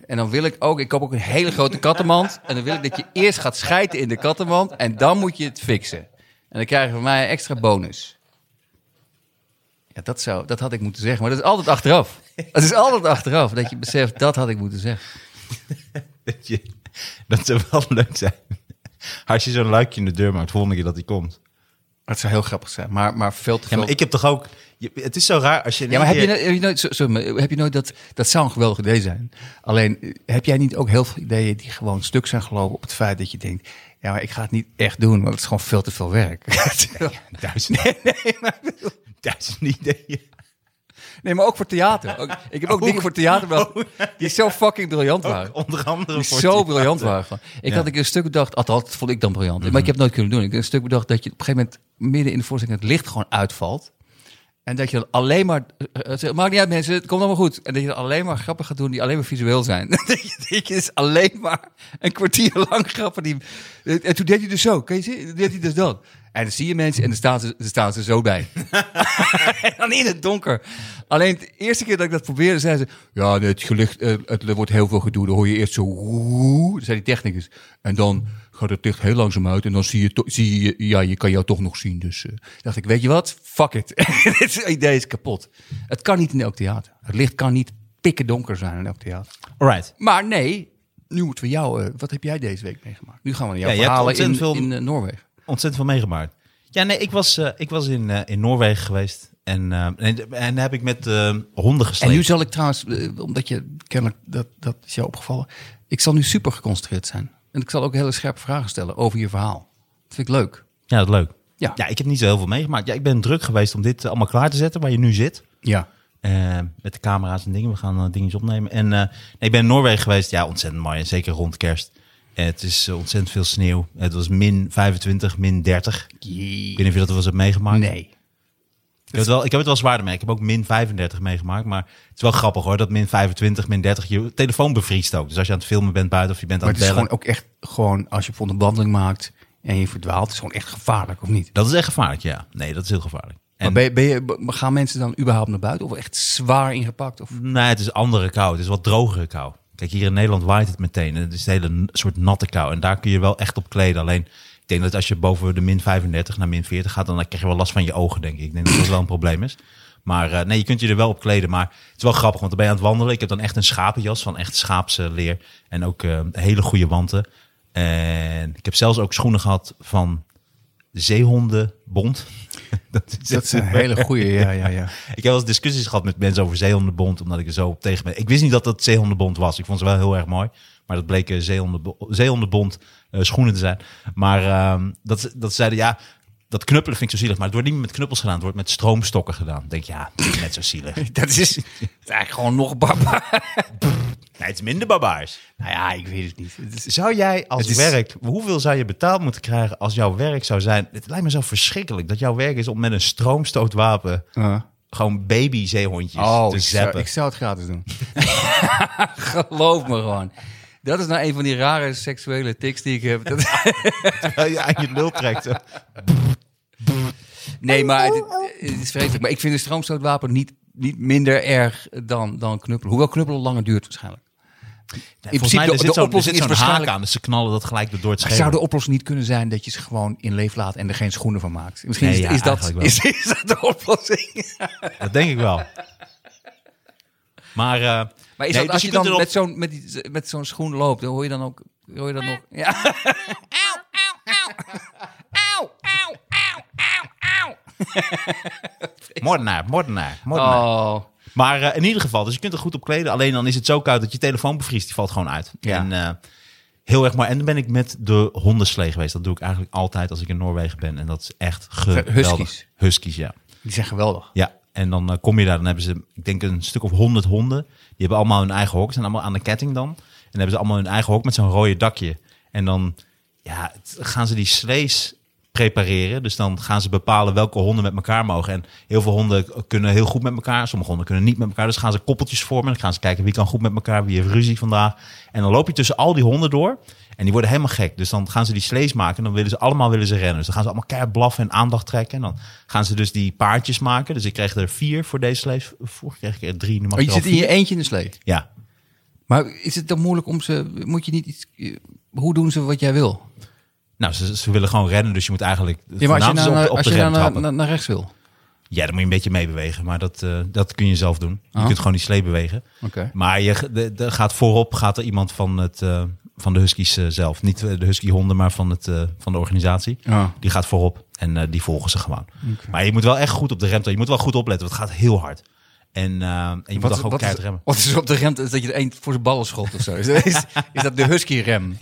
Speaker 3: En dan wil ik ook, ik koop ook een hele grote kattenmand. En dan wil ik dat je eerst gaat schijten in de kattenmand. En dan moet je het fixen. En dan krijg je van mij een extra bonus. Ja, dat, zou, dat had ik moeten zeggen. Maar dat is altijd achteraf. Dat is altijd achteraf dat je beseft, dat had ik moeten
Speaker 2: (laughs)
Speaker 3: zeggen.
Speaker 2: Dat, je, dat zou wel leuk zijn. Als je zo'n luikje in de deur maakt, volgende keer dat hij komt.
Speaker 3: Dat zou heel grappig zijn. Maar, maar veel te
Speaker 2: Ja,
Speaker 3: veel.
Speaker 2: maar ik heb toch ook... je- het is zo raar als je... in
Speaker 3: Ja, maar
Speaker 2: één
Speaker 3: heb je,
Speaker 2: keer-
Speaker 3: nooit- heb je nooit, sorry, maar heb je nooit dat, dat zou een geweldig idee zijn. Alleen, eh, heb jij niet ook heel veel ideeën die gewoon stuk zijn gelopen op het feit dat je denkt, ja, maar ik ga het niet echt doen, want het is gewoon veel te veel werk.
Speaker 2: (laughs) Duizend, duizend ideeën.
Speaker 3: (laughs) Nee, maar ook voor theater. Ook- ik
Speaker 2: (laughs) Oh.
Speaker 3: heb ook dingen voor theater bedacht die zo fucking briljant waren.
Speaker 2: Onder andere
Speaker 3: Die
Speaker 2: Oh, voor
Speaker 3: zo
Speaker 2: die-
Speaker 3: briljant waren. gewoon. Ik
Speaker 2: Ja. Mhm.
Speaker 3: had een keer een stuk bedacht, althans, dat vond ik dan briljant, maar ik heb het nooit kunnen doen. Ik heb een stuk bedacht dat je op een gegeven moment midden in de voorstelling het licht gewoon uitvalt. En dat je dan alleen maar... eh, eh, zeg, maakt niet uit mensen, het komt allemaal goed. En dat je dan alleen maar grappen gaat doen die alleen maar visueel zijn. (laughs) dat je dat je dus alleen maar een kwartier lang grappen die... En toen deed hij dus zo, kan je zien? Toen deed hij dus dat. En dan zie je mensen en dan staan ze, dan staan ze zo bij. en dan in het donker. Alleen de eerste keer dat ik dat probeerde, zeiden ze... Ja, nee, het, gelicht, eh, het er wordt heel veel gedoe. Dan hoor je eerst zo... "Woe", zei die technicus. En dan gaat het licht heel langzaam uit. En dan zie je... to- Zie je ja, je kan jou toch nog zien. Dus eh, dacht ik, weet je wat? Fuck it. Dit idee is kapot. Het kan niet in elk theater. Het licht kan niet pikken donker zijn in elk theater.
Speaker 2: Alright.
Speaker 3: Maar nee, nu moeten we jou... eh, wat heb jij deze week meegemaakt? Nu gaan we naar jouw
Speaker 2: Ja, je hebt
Speaker 3: verhalen in,
Speaker 2: ontzettend veel-
Speaker 3: in eh, Noorwegen.
Speaker 2: Ontzettend veel meegemaakt. Ja, nee, ik was, eh, ik was in, eh, in Noorwegen geweest. En, eh, en, en heb ik met eh, honden
Speaker 3: En
Speaker 2: gesleept.
Speaker 3: nu zal ik trouwens, eh, omdat je kennelijk, dat, dat is jou opgevallen. Ik zal nu super geconcentreerd zijn. En ik zal ook hele scherpe vragen stellen over je verhaal. Dat vind ik leuk.
Speaker 2: Ja, dat is leuk.
Speaker 3: Ja.
Speaker 2: ja, ik heb niet zo heel veel meegemaakt. Ja, ik ben druk geweest om dit eh, allemaal klaar te zetten waar je nu zit.
Speaker 3: Ja.
Speaker 2: Eh, met de camera's en dingen. We gaan eh, dingetjes opnemen. En eh, nee, ik ben in Noorwegen geweest. Ja, ontzettend mooi. En zeker rond kerst. Eh, het is eh, ontzettend veel sneeuw. Het was min 25, min 30. Ik weet niet of je dat wel eens hebt meegemaakt.
Speaker 3: Nee.
Speaker 2: Ik heb, het wel, ik heb het wel zwaarder mee. Ik heb ook min 35 meegemaakt. Maar het is wel grappig hoor. Dat min 25, min 30. Je telefoon bevriest ook. Dus als je aan het filmen bent buiten of je bent aan
Speaker 3: Maar
Speaker 2: het
Speaker 3: het is
Speaker 2: bellen.
Speaker 3: gewoon ook echt, gewoon als je bijvoorbeeld een wandeling maakt en je verdwaalt, is het gewoon echt gevaarlijk, of niet?
Speaker 2: Dat is echt gevaarlijk, ja. Nee, dat is heel gevaarlijk.
Speaker 3: Maar
Speaker 2: En,
Speaker 3: ben je, ben je, b- gaan mensen dan überhaupt naar buiten of echt zwaar ingepakt? Of?
Speaker 2: nee, het is andere kou. Het is wat drogere kou. Kijk, hier in Nederland waait het meteen. Het is een hele n- soort natte kou. En daar kun je wel echt op kleden. Alleen, ik denk dat als je boven de min 35 naar min 40 gaat, dan krijg je wel last van je ogen, denk ik. Ik denk dat dat wel een probleem is. Maar eh, nee, je kunt je er wel op kleden. Maar het is wel grappig, want dan ben je aan het wandelen. Ik heb dan echt een schapenjas van echt schaapse leer. En ook eh, hele goede wanten. En ik heb zelfs ook schoenen gehad van zeehondenbond. dat is,
Speaker 3: Dat is een hele goede, ja, ja, ja.
Speaker 2: Ik heb wel eens discussies gehad met mensen over zeehondenbond, omdat ik er zo op tegen ben. Ik wist niet dat dat zeehondenbond was. Ik vond ze wel heel erg mooi. Maar dat bleken zeehondenbo- zeehondenbond eh, schoenen te zijn. Maar ehm, dat, ze- dat ze zeiden, ja, dat knuppelen vind ik zo zielig. Maar het wordt niet met knuppels gedaan, het wordt met stroomstokken gedaan. Ik denk, ja, dat is net zo (laughs) zielig. Nee,
Speaker 3: (laughs) Dat is, (laughs) dat is eigenlijk gewoon nog barbaar.
Speaker 2: het is minder barbaars.
Speaker 3: Nou ja, ik weet het niet. Het is-
Speaker 2: Zou jij als
Speaker 3: Het is-
Speaker 2: werk, hoeveel zou je betaald moeten krijgen als jouw werk zou zijn? Het lijkt me zo verschrikkelijk dat jouw werk is om met een stroomstootwapen
Speaker 3: Eh.
Speaker 2: gewoon baby zeehondjes
Speaker 3: Oh,
Speaker 2: te
Speaker 3: ik zou,
Speaker 2: zappen.
Speaker 3: ik zou het gratis doen. (laughs) Geloof me gewoon. Dat is nou een van die rare seksuele tics die ik heb. Dat-
Speaker 2: (laughs) Terwijl je aan je lul trekt. zo.
Speaker 3: nee, maar het, het is vreselijk. Maar ik vind een stroomstootwapen niet, niet minder erg dan, dan knuppelen. Hoewel knuppelen langer duurt waarschijnlijk.
Speaker 2: Ja,
Speaker 3: In
Speaker 2: volgens
Speaker 3: principe,
Speaker 2: mij,
Speaker 3: de-
Speaker 2: er zit
Speaker 3: de
Speaker 2: zo'n- er
Speaker 3: oplossing
Speaker 2: zit
Speaker 3: is
Speaker 2: zo'n haak
Speaker 3: waarschijnlijk-
Speaker 2: aan, dus ze knallen dat gelijk door het
Speaker 3: Maar zou
Speaker 2: scherm.
Speaker 3: de oplossing niet kunnen zijn dat je ze gewoon in leef laat en er geen schoenen van maakt? Misschien
Speaker 2: Nee,
Speaker 3: is,
Speaker 2: ja,
Speaker 3: is dat,
Speaker 2: eigenlijk wel.
Speaker 3: (laughs) is, is dat de oplossing.
Speaker 2: Dat denk ik wel. (laughs) Maar, eh,
Speaker 3: Maar
Speaker 2: nee,
Speaker 3: is dat,
Speaker 2: dus
Speaker 3: als je
Speaker 2: kunt
Speaker 3: dan
Speaker 2: erop-
Speaker 3: met zo'n, met, die- met zo'n schoen loopt, dan hoor je dan ook... Hoor je dan nog, ja.
Speaker 2: Moordenaar, moordenaar, moordenaar.
Speaker 3: Oh.
Speaker 2: Maar eh, in ieder geval, dus je kunt er goed op kleden. Alleen dan is het zo koud dat je telefoon bevriest. Die valt gewoon uit.
Speaker 3: Ja.
Speaker 2: En eh, heel erg mooi. En dan ben ik met de hondenslee geweest. Dat doe ik eigenlijk altijd als ik in Noorwegen ben. En dat is echt geweldig.
Speaker 3: Huskies.
Speaker 2: Huskies, ja.
Speaker 3: Die zijn geweldig.
Speaker 2: Ja, en dan eh, kom je daar, dan hebben ze, ik denk een stuk of honderd honden. Die hebben allemaal hun eigen hok, zijn allemaal aan de ketting dan. En dan hebben ze allemaal hun eigen hok met zo'n rode dakje. En dan ja, het- gaan ze die slees prepareren. Dus dan gaan ze bepalen welke honden met elkaar mogen. En heel veel honden kunnen heel goed met elkaar, sommige honden kunnen niet met elkaar. Dus gaan ze koppeltjes vormen. Dan gaan ze kijken wie kan goed met elkaar, wie heeft ruzie vandaag. En dan loop je tussen al die honden door. En die worden helemaal gek. Dus dan gaan ze die slees maken. En dan willen ze allemaal willen ze rennen. Dus dan gaan ze allemaal keihard blaffen en aandacht trekken. En dan gaan ze dus die paardjes maken. Dus ik kreeg er vier voor deze slees. Vorig kreeg ik er drie. Nu mag
Speaker 3: Maar
Speaker 2: ik
Speaker 3: Oh, je
Speaker 2: er al
Speaker 3: zit in
Speaker 2: vier.
Speaker 3: je eentje in de slee.
Speaker 2: Ja.
Speaker 3: Maar is het dan moeilijk om ze... Moet je niet iets... Hoe doen ze wat jij wil?
Speaker 2: Nou, ze, ze willen gewoon rennen. Dus je moet eigenlijk het
Speaker 3: Ja, maar als je
Speaker 2: voornaamste
Speaker 3: nou, naar-
Speaker 2: op, op
Speaker 3: als
Speaker 2: de
Speaker 3: je
Speaker 2: rem
Speaker 3: nou naar,
Speaker 2: trappen.
Speaker 3: naar, naar rechts wil.
Speaker 2: Ja, dan moet je een beetje meebewegen. Maar dat, eh, dat kun je zelf doen. Je
Speaker 3: Ah.
Speaker 2: kunt gewoon die slee bewegen.
Speaker 3: Oké.
Speaker 2: Maar je, de, de gaat voorop gaat er iemand van, het, eh, van de Huskies eh, zelf. Niet eh, de Husky-honden, maar van, het, eh, van de organisatie.
Speaker 3: Ja.
Speaker 2: Die gaat voorop en eh, die volgen ze gewoon. Maar je moet wel echt goed op de rem. trappen. Je moet wel goed opletten, want het gaat heel hard. En, eh, en je moet dan gewoon
Speaker 3: wat,
Speaker 2: keihard
Speaker 3: is,
Speaker 2: remmen.
Speaker 3: wat is op de rem? Is dat je er één voor zijn ballen schopt of zo? Is, is, is dat de (laughs) husky-rem?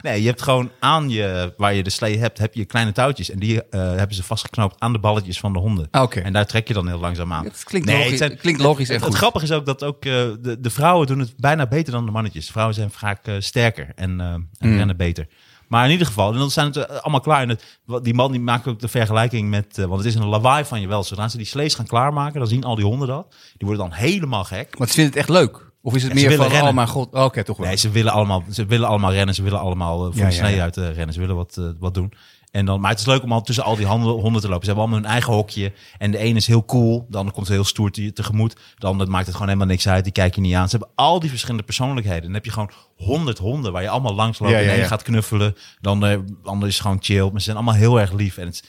Speaker 2: Nee, je hebt gewoon aan je, waar je de slee hebt, heb je kleine touwtjes. En die eh, hebben ze vastgeknoopt aan de balletjes van de honden.
Speaker 3: Ah, oké.
Speaker 2: En daar trek je dan heel langzaam aan.
Speaker 3: Dat klinkt
Speaker 2: Nee,
Speaker 3: logisch,
Speaker 2: het zijn-
Speaker 3: klinkt logisch en
Speaker 2: Het,
Speaker 3: goed.
Speaker 2: het grappige is ook dat ook eh, de, de vrouwen doen het bijna beter dan de mannetjes. De vrouwen zijn vaak eh, sterker en, eh, en
Speaker 3: Mm.
Speaker 2: rennen beter. Maar in ieder geval, en dan zijn het eh, allemaal klaar. En het- wat- die man die maakt ook de vergelijking met, eh, want het is een lawaai van je wel. Zodra ze die slees gaan klaarmaken, dan zien al die honden dat. Die worden dan helemaal gek.
Speaker 3: Want ze vinden het echt leuk. Of is het
Speaker 2: Ja, ze
Speaker 3: meer
Speaker 2: willen
Speaker 3: van,
Speaker 2: rennen.
Speaker 3: oh mijn god, oké, toch wel.
Speaker 2: Nee, ze willen allemaal, ze willen allemaal rennen. Ze willen allemaal eh, voor
Speaker 3: Ja,
Speaker 2: de
Speaker 3: ja,
Speaker 2: snee
Speaker 3: ja.
Speaker 2: uit eh, rennen. Ze willen wat, eh, wat doen. En dan, maar het is leuk om al tussen al die handen, honden te lopen. Ze hebben allemaal hun eigen hokje. En de ene is heel cool. De ander komt heel stoer te, tegemoet. De ander maakt het gewoon helemaal niks uit. Die kijk je niet aan. Ze hebben al die verschillende persoonlijkheden. En dan heb je gewoon honderd honden waar je allemaal langs loopt.
Speaker 3: Ja,
Speaker 2: en
Speaker 3: ja,
Speaker 2: de ene
Speaker 3: ja.
Speaker 2: gaat knuffelen. De ander, de ander is gewoon chill. Maar ze zijn allemaal heel erg lief. En het is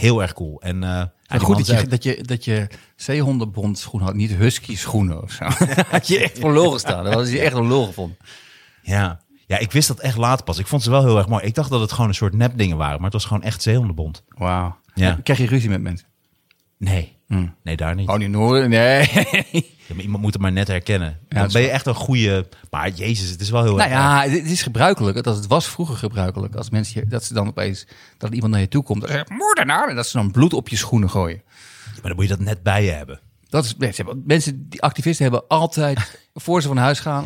Speaker 2: heel erg cool. En, eh, ja, die
Speaker 3: Maar
Speaker 2: man
Speaker 3: goed dat
Speaker 2: zei
Speaker 3: je, (laughs)
Speaker 2: ook,
Speaker 3: dat, je, dat je zeehondenbond schoenen had, (laughs) niet husky schoenen of zo. had je echt voor lul gestaan. Dat was je echt een lul gevonden.
Speaker 2: Ja. Ja, ik wist dat echt laat pas. Ik vond ze wel heel erg mooi. Ik dacht dat het gewoon een soort nepdingen waren, maar het was gewoon echt zeehondenbont.
Speaker 3: Wauw.
Speaker 2: Ja.
Speaker 3: Krijg je ruzie met mensen?
Speaker 2: Nee, nee, daar niet.
Speaker 3: Oh, niet horen? Nee.
Speaker 2: Ja, maar iemand moet het maar net herkennen.
Speaker 3: dat
Speaker 2: Dan
Speaker 3: is
Speaker 2: ben je echt een goede... Maar jezus, het is wel heel
Speaker 3: nou
Speaker 2: erg...
Speaker 3: ja, het is gebruikelijk. Dat het was vroeger gebruikelijk. Als mensen, je- dat ze dan opeens, dat er iemand naar je toe komt. Dat ze zegt, moordenaar. En dat ze dan bloed op je schoenen gooien.
Speaker 2: Maar dan moet je dat net bij je hebben.
Speaker 3: Dat is, mensen, hebben- mensen, die activisten hebben
Speaker 2: (laughs)
Speaker 3: altijd, voor ze van huis gaan.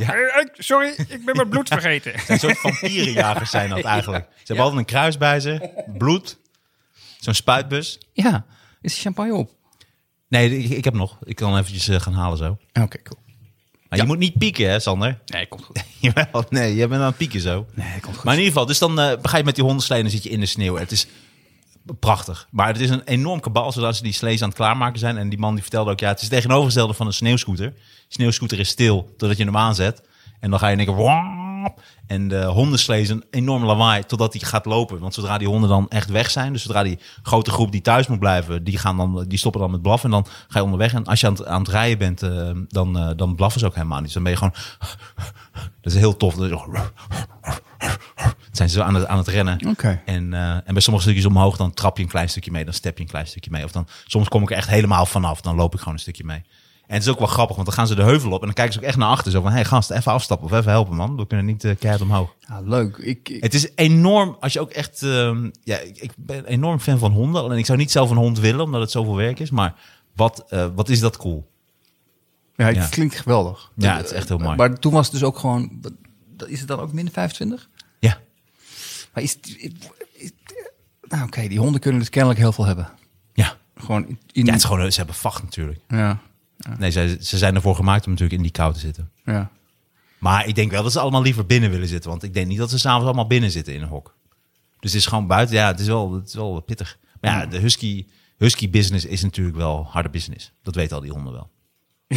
Speaker 4: Sorry, ik ben mijn
Speaker 3: (laughs)
Speaker 4: bloed vergeten.
Speaker 2: Een soort vampierenjagers zijn (laughs) dat eigenlijk. Ze hebben altijd een kruis bij ze, bloed, zo'n spuitbus.
Speaker 3: Ja, is de champagne op?
Speaker 2: Nee, ik, ik heb nog. Ik kan eventjes eh, gaan halen zo.
Speaker 3: Oké, cool.
Speaker 2: Maar je moet niet pieken, hè, Sander?
Speaker 3: Nee, komt goed.
Speaker 2: (laughs) Jawel, nee, jij bent aan het pieken zo.
Speaker 3: Nee, komt goed.
Speaker 2: Maar in ieder geval, dus dan eh, ga je met die hondenslee en dan zit je in de sneeuw. Het is prachtig. Maar het is een enorm kabaal zodat ze die slees aan het klaarmaken zijn. En die man die vertelde ook, ja, het is het tegenovergestelde van een sneeuwscooter. Sneeuwscooter is stil totdat je hem aanzet. En dan ga je denken, wap. En de hondenslee is een enorm lawaai totdat hij gaat lopen. Want zodra die honden dan echt weg zijn, dus zodra die grote groep die thuis moet blijven, die, gaan dan, die stoppen dan met blaffen. En dan ga je onderweg. En als je aan het, aan het rijden bent, eh, dan, eh, dan blaffen ze ook helemaal niet. Dus dan ben je gewoon... Dat is heel tof. Dan is het zo- zijn ze zo aan het, aan het rennen.
Speaker 3: Oké.
Speaker 2: En, eh, en bij sommige stukjes omhoog, dan trap je een klein stukje mee. Dan step je een klein stukje mee. Of dan, soms kom ik er echt helemaal vanaf. Dan loop ik gewoon een stukje mee. En het is ook wel grappig, want dan gaan ze de heuvel op. En dan kijken ze ook echt naar achter. Zo van, hé hey, gast, even afstappen of even helpen, man. We kunnen niet eh, keihard omhoog.
Speaker 3: Ah, leuk. Ik, ik-
Speaker 2: Het is enorm, als je ook echt... ehm, ja, ik, ik ben enorm fan van honden. Alleen ik zou niet zelf een hond willen, omdat het zoveel werk is. Maar wat, eh, wat is dat cool?
Speaker 3: ja, het
Speaker 2: ja.
Speaker 3: klinkt geweldig.
Speaker 2: Ja, het is echt heel mooi.
Speaker 3: Maar toen was het dus ook gewoon... wat- Is het dan ook min 25?
Speaker 2: Ja.
Speaker 3: Maar is, het- is- is- nou, oké, die honden kunnen dus kennelijk heel veel hebben.
Speaker 2: Ja.
Speaker 3: Gewoon in...
Speaker 2: ja, het is gewoon, ze hebben vacht natuurlijk.
Speaker 3: ja,
Speaker 2: Nee, ze, ze zijn ervoor gemaakt om natuurlijk in die kou te zitten.
Speaker 3: ja.
Speaker 2: Maar ik denk wel dat ze allemaal liever binnen willen zitten. Want ik denk niet dat ze s'avonds allemaal binnen zitten in een hok. Dus het is gewoon buiten. Ja, het is wel, het is wel pittig. Maar ja, de husky, husky business is natuurlijk wel harde business. Dat weten al die honden wel.
Speaker 3: (laughs)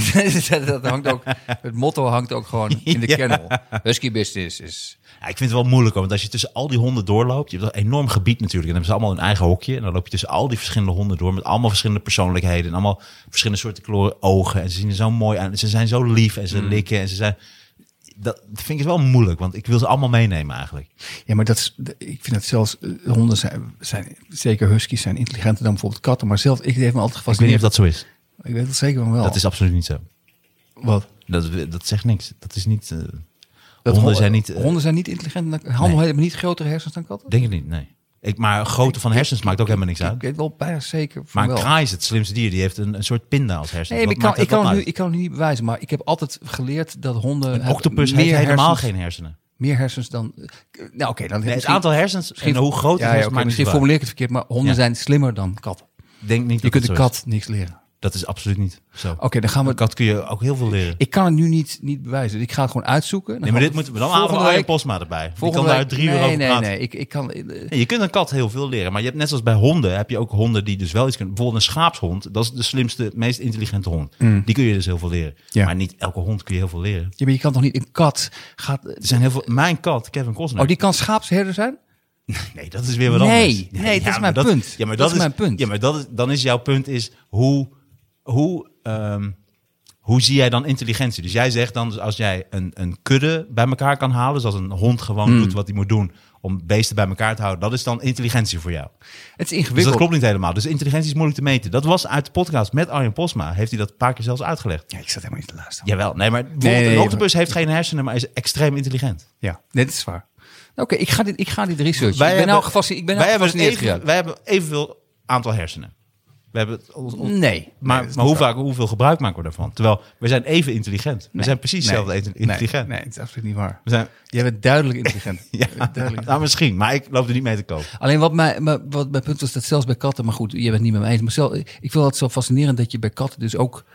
Speaker 3: dat hangt ook, het motto hangt ook gewoon in de
Speaker 2: Ja.
Speaker 3: kennel. Husky business is...
Speaker 2: Ja, ik vind het wel moeilijk, hoor, want als je tussen al die honden doorloopt, je hebt een enorm gebied natuurlijk, en dan hebben ze allemaal hun eigen hokje, en dan loop je tussen al die verschillende honden door met allemaal verschillende persoonlijkheden en allemaal verschillende soorten kleuren ogen, en ze zien er zo mooi uit, en ze zijn zo lief, en ze likken, en ze zijn... Dat vind ik wel moeilijk, want ik wil ze allemaal meenemen eigenlijk.
Speaker 3: Ja, maar dat is, ik vind dat zelfs eh, honden zijn, zijn, zeker huskies zijn intelligenter dan bijvoorbeeld katten. Maar zelf, ik heb me altijd
Speaker 2: Ik weet niet
Speaker 3: gefascineerd.
Speaker 2: of dat zo is.
Speaker 3: Ik weet dat zeker van wel.
Speaker 2: Dat is absoluut niet zo.
Speaker 3: wat?
Speaker 2: Dat, dat zegt niks. Dat is niet. eh,
Speaker 3: Dat
Speaker 2: honden
Speaker 3: hon-
Speaker 2: zijn niet. eh,
Speaker 3: honden zijn niet intelligent. Dan, honden
Speaker 2: Nee.
Speaker 3: hebben niet grotere hersens dan katten.
Speaker 2: Denk het niet, nee. Ik, maar grootte van hersens maakt ook helemaal niks
Speaker 3: Ik
Speaker 2: uit.
Speaker 3: weet wel bijna zeker van
Speaker 2: Maar een
Speaker 3: wel.
Speaker 2: kraai is het slimste dier. Die heeft een, een soort pinda als hersen.
Speaker 3: Nee, maar
Speaker 2: Wat
Speaker 3: ik kan,
Speaker 2: maakt dat
Speaker 3: ik, kan
Speaker 2: dan
Speaker 3: het nu,
Speaker 2: uit?
Speaker 3: ik kan het nu niet bewijzen, maar ik heb altijd geleerd dat honden...
Speaker 2: Een
Speaker 3: hebben
Speaker 2: octopus heeft
Speaker 3: meer
Speaker 2: helemaal
Speaker 3: hersens-
Speaker 2: geen hersenen.
Speaker 3: Meer hersens dan... Nou oké, dan
Speaker 2: Nee, het
Speaker 3: misschien-
Speaker 2: aantal hersens
Speaker 3: misschien-
Speaker 2: en hoe groot het
Speaker 3: ja, ja,
Speaker 2: is,
Speaker 3: oké,
Speaker 2: maakt
Speaker 3: Misschien
Speaker 2: niet uit.
Speaker 3: formuleer ik het verkeerd, maar honden
Speaker 2: Ja.
Speaker 3: zijn slimmer dan katten.
Speaker 2: Ik Denk niet
Speaker 3: Je
Speaker 2: dat
Speaker 3: kunt
Speaker 2: dat
Speaker 3: de
Speaker 2: zo is.
Speaker 3: kat niks leren.
Speaker 2: Dat is absoluut niet zo.
Speaker 3: Oké, dan gaan we...
Speaker 2: Een kat kun je ook heel veel leren.
Speaker 3: Ik kan het nu niet, niet bewijzen. Ik ga het gewoon uitzoeken. Dan
Speaker 2: nee, maar
Speaker 3: gaan
Speaker 2: dit
Speaker 3: we
Speaker 2: moeten we dan
Speaker 3: volgende
Speaker 2: halen we Arjen
Speaker 3: week-
Speaker 2: Postma erbij. Die
Speaker 3: volgende
Speaker 2: kan daar
Speaker 3: week-
Speaker 2: drie uur
Speaker 3: nee,
Speaker 2: over
Speaker 3: nee,
Speaker 2: praten.
Speaker 3: Nee, ik, ik kan... eh,
Speaker 2: Nee, je kunt een kat heel veel leren, maar je hebt net zoals bij honden, heb je ook honden die dus wel iets kunnen. Bijvoorbeeld een schaapshond, dat is de slimste, meest intelligente hond. Die kun je dus heel veel leren.
Speaker 3: Mm. Ja.
Speaker 2: Maar niet elke hond kun je heel veel leren.
Speaker 3: Ja, maar je kan toch niet... Een kat gaat...
Speaker 2: Er zijn heel veel. Mijn kat, Kevin Costner.
Speaker 3: Oh, die kan schaapsherder zijn?
Speaker 2: Nee, dat is weer wat
Speaker 3: Nee,
Speaker 2: anders.
Speaker 3: nee, dat is
Speaker 2: maar
Speaker 3: mijn punt.
Speaker 2: Ja, maar
Speaker 3: Dat
Speaker 2: dat,
Speaker 3: is mijn punt.
Speaker 2: Ja, maar dat is, dan is jouw punt is hoe, hoe, ehm, hoe zie jij dan intelligentie? Dus jij zegt dan, dus als jij een, een kudde bij elkaar kan halen, dus als een hond gewoon
Speaker 3: Mm.
Speaker 2: doet wat hij moet doen om beesten bij elkaar te houden, dat is dan intelligentie voor jou.
Speaker 3: Het is
Speaker 2: Dus dat
Speaker 3: ingewikkeld.
Speaker 2: klopt niet helemaal. Dus intelligentie is moeilijk te meten. Dat was uit de podcast met Arjen Posma. Heeft hij dat een paar keer zelfs uitgelegd?
Speaker 3: Ja, ik zat helemaal niet te luisteren.
Speaker 2: Jawel. Nee, maar bijvoorbeeld
Speaker 3: nee, nee,
Speaker 2: een octopus heeft geen hersenen, maar is extreem intelligent. Dus
Speaker 3: Ja, dit is waar. Oké, ik, ga dit, ik ga dit researchen. ik ben
Speaker 2: hebben-
Speaker 3: nou gefascineerd. Ik ben nou
Speaker 2: wij hebben
Speaker 3: gefascineerd
Speaker 2: even, wij hebben evenveel aantal hersenen. We hebben het ons- ons-
Speaker 3: geraakt. Nee.
Speaker 2: maar
Speaker 3: Nee, dat is
Speaker 2: maar
Speaker 3: niet
Speaker 2: hoe
Speaker 3: waar.
Speaker 2: vaak, hoeveel gebruik maken we daarvan? Terwijl we zijn even intelligent. We zijn precies
Speaker 3: Nee,
Speaker 2: hetzelfde
Speaker 3: nee,
Speaker 2: intelligent.
Speaker 3: Nee, het is absoluut niet waar.
Speaker 2: We zijn,
Speaker 3: Jij bent duidelijk intelligent.
Speaker 2: (laughs) ja,
Speaker 3: duidelijk.
Speaker 2: nou, misschien, maar ik loop er niet mee te koop.
Speaker 3: Alleen wat, mij, maar wat mijn punt was, dat zelfs bij katten... Maar goed, je bent niet met me eens. Maar zelf, ik vind dat zo fascinerend dat je bij katten dus ook...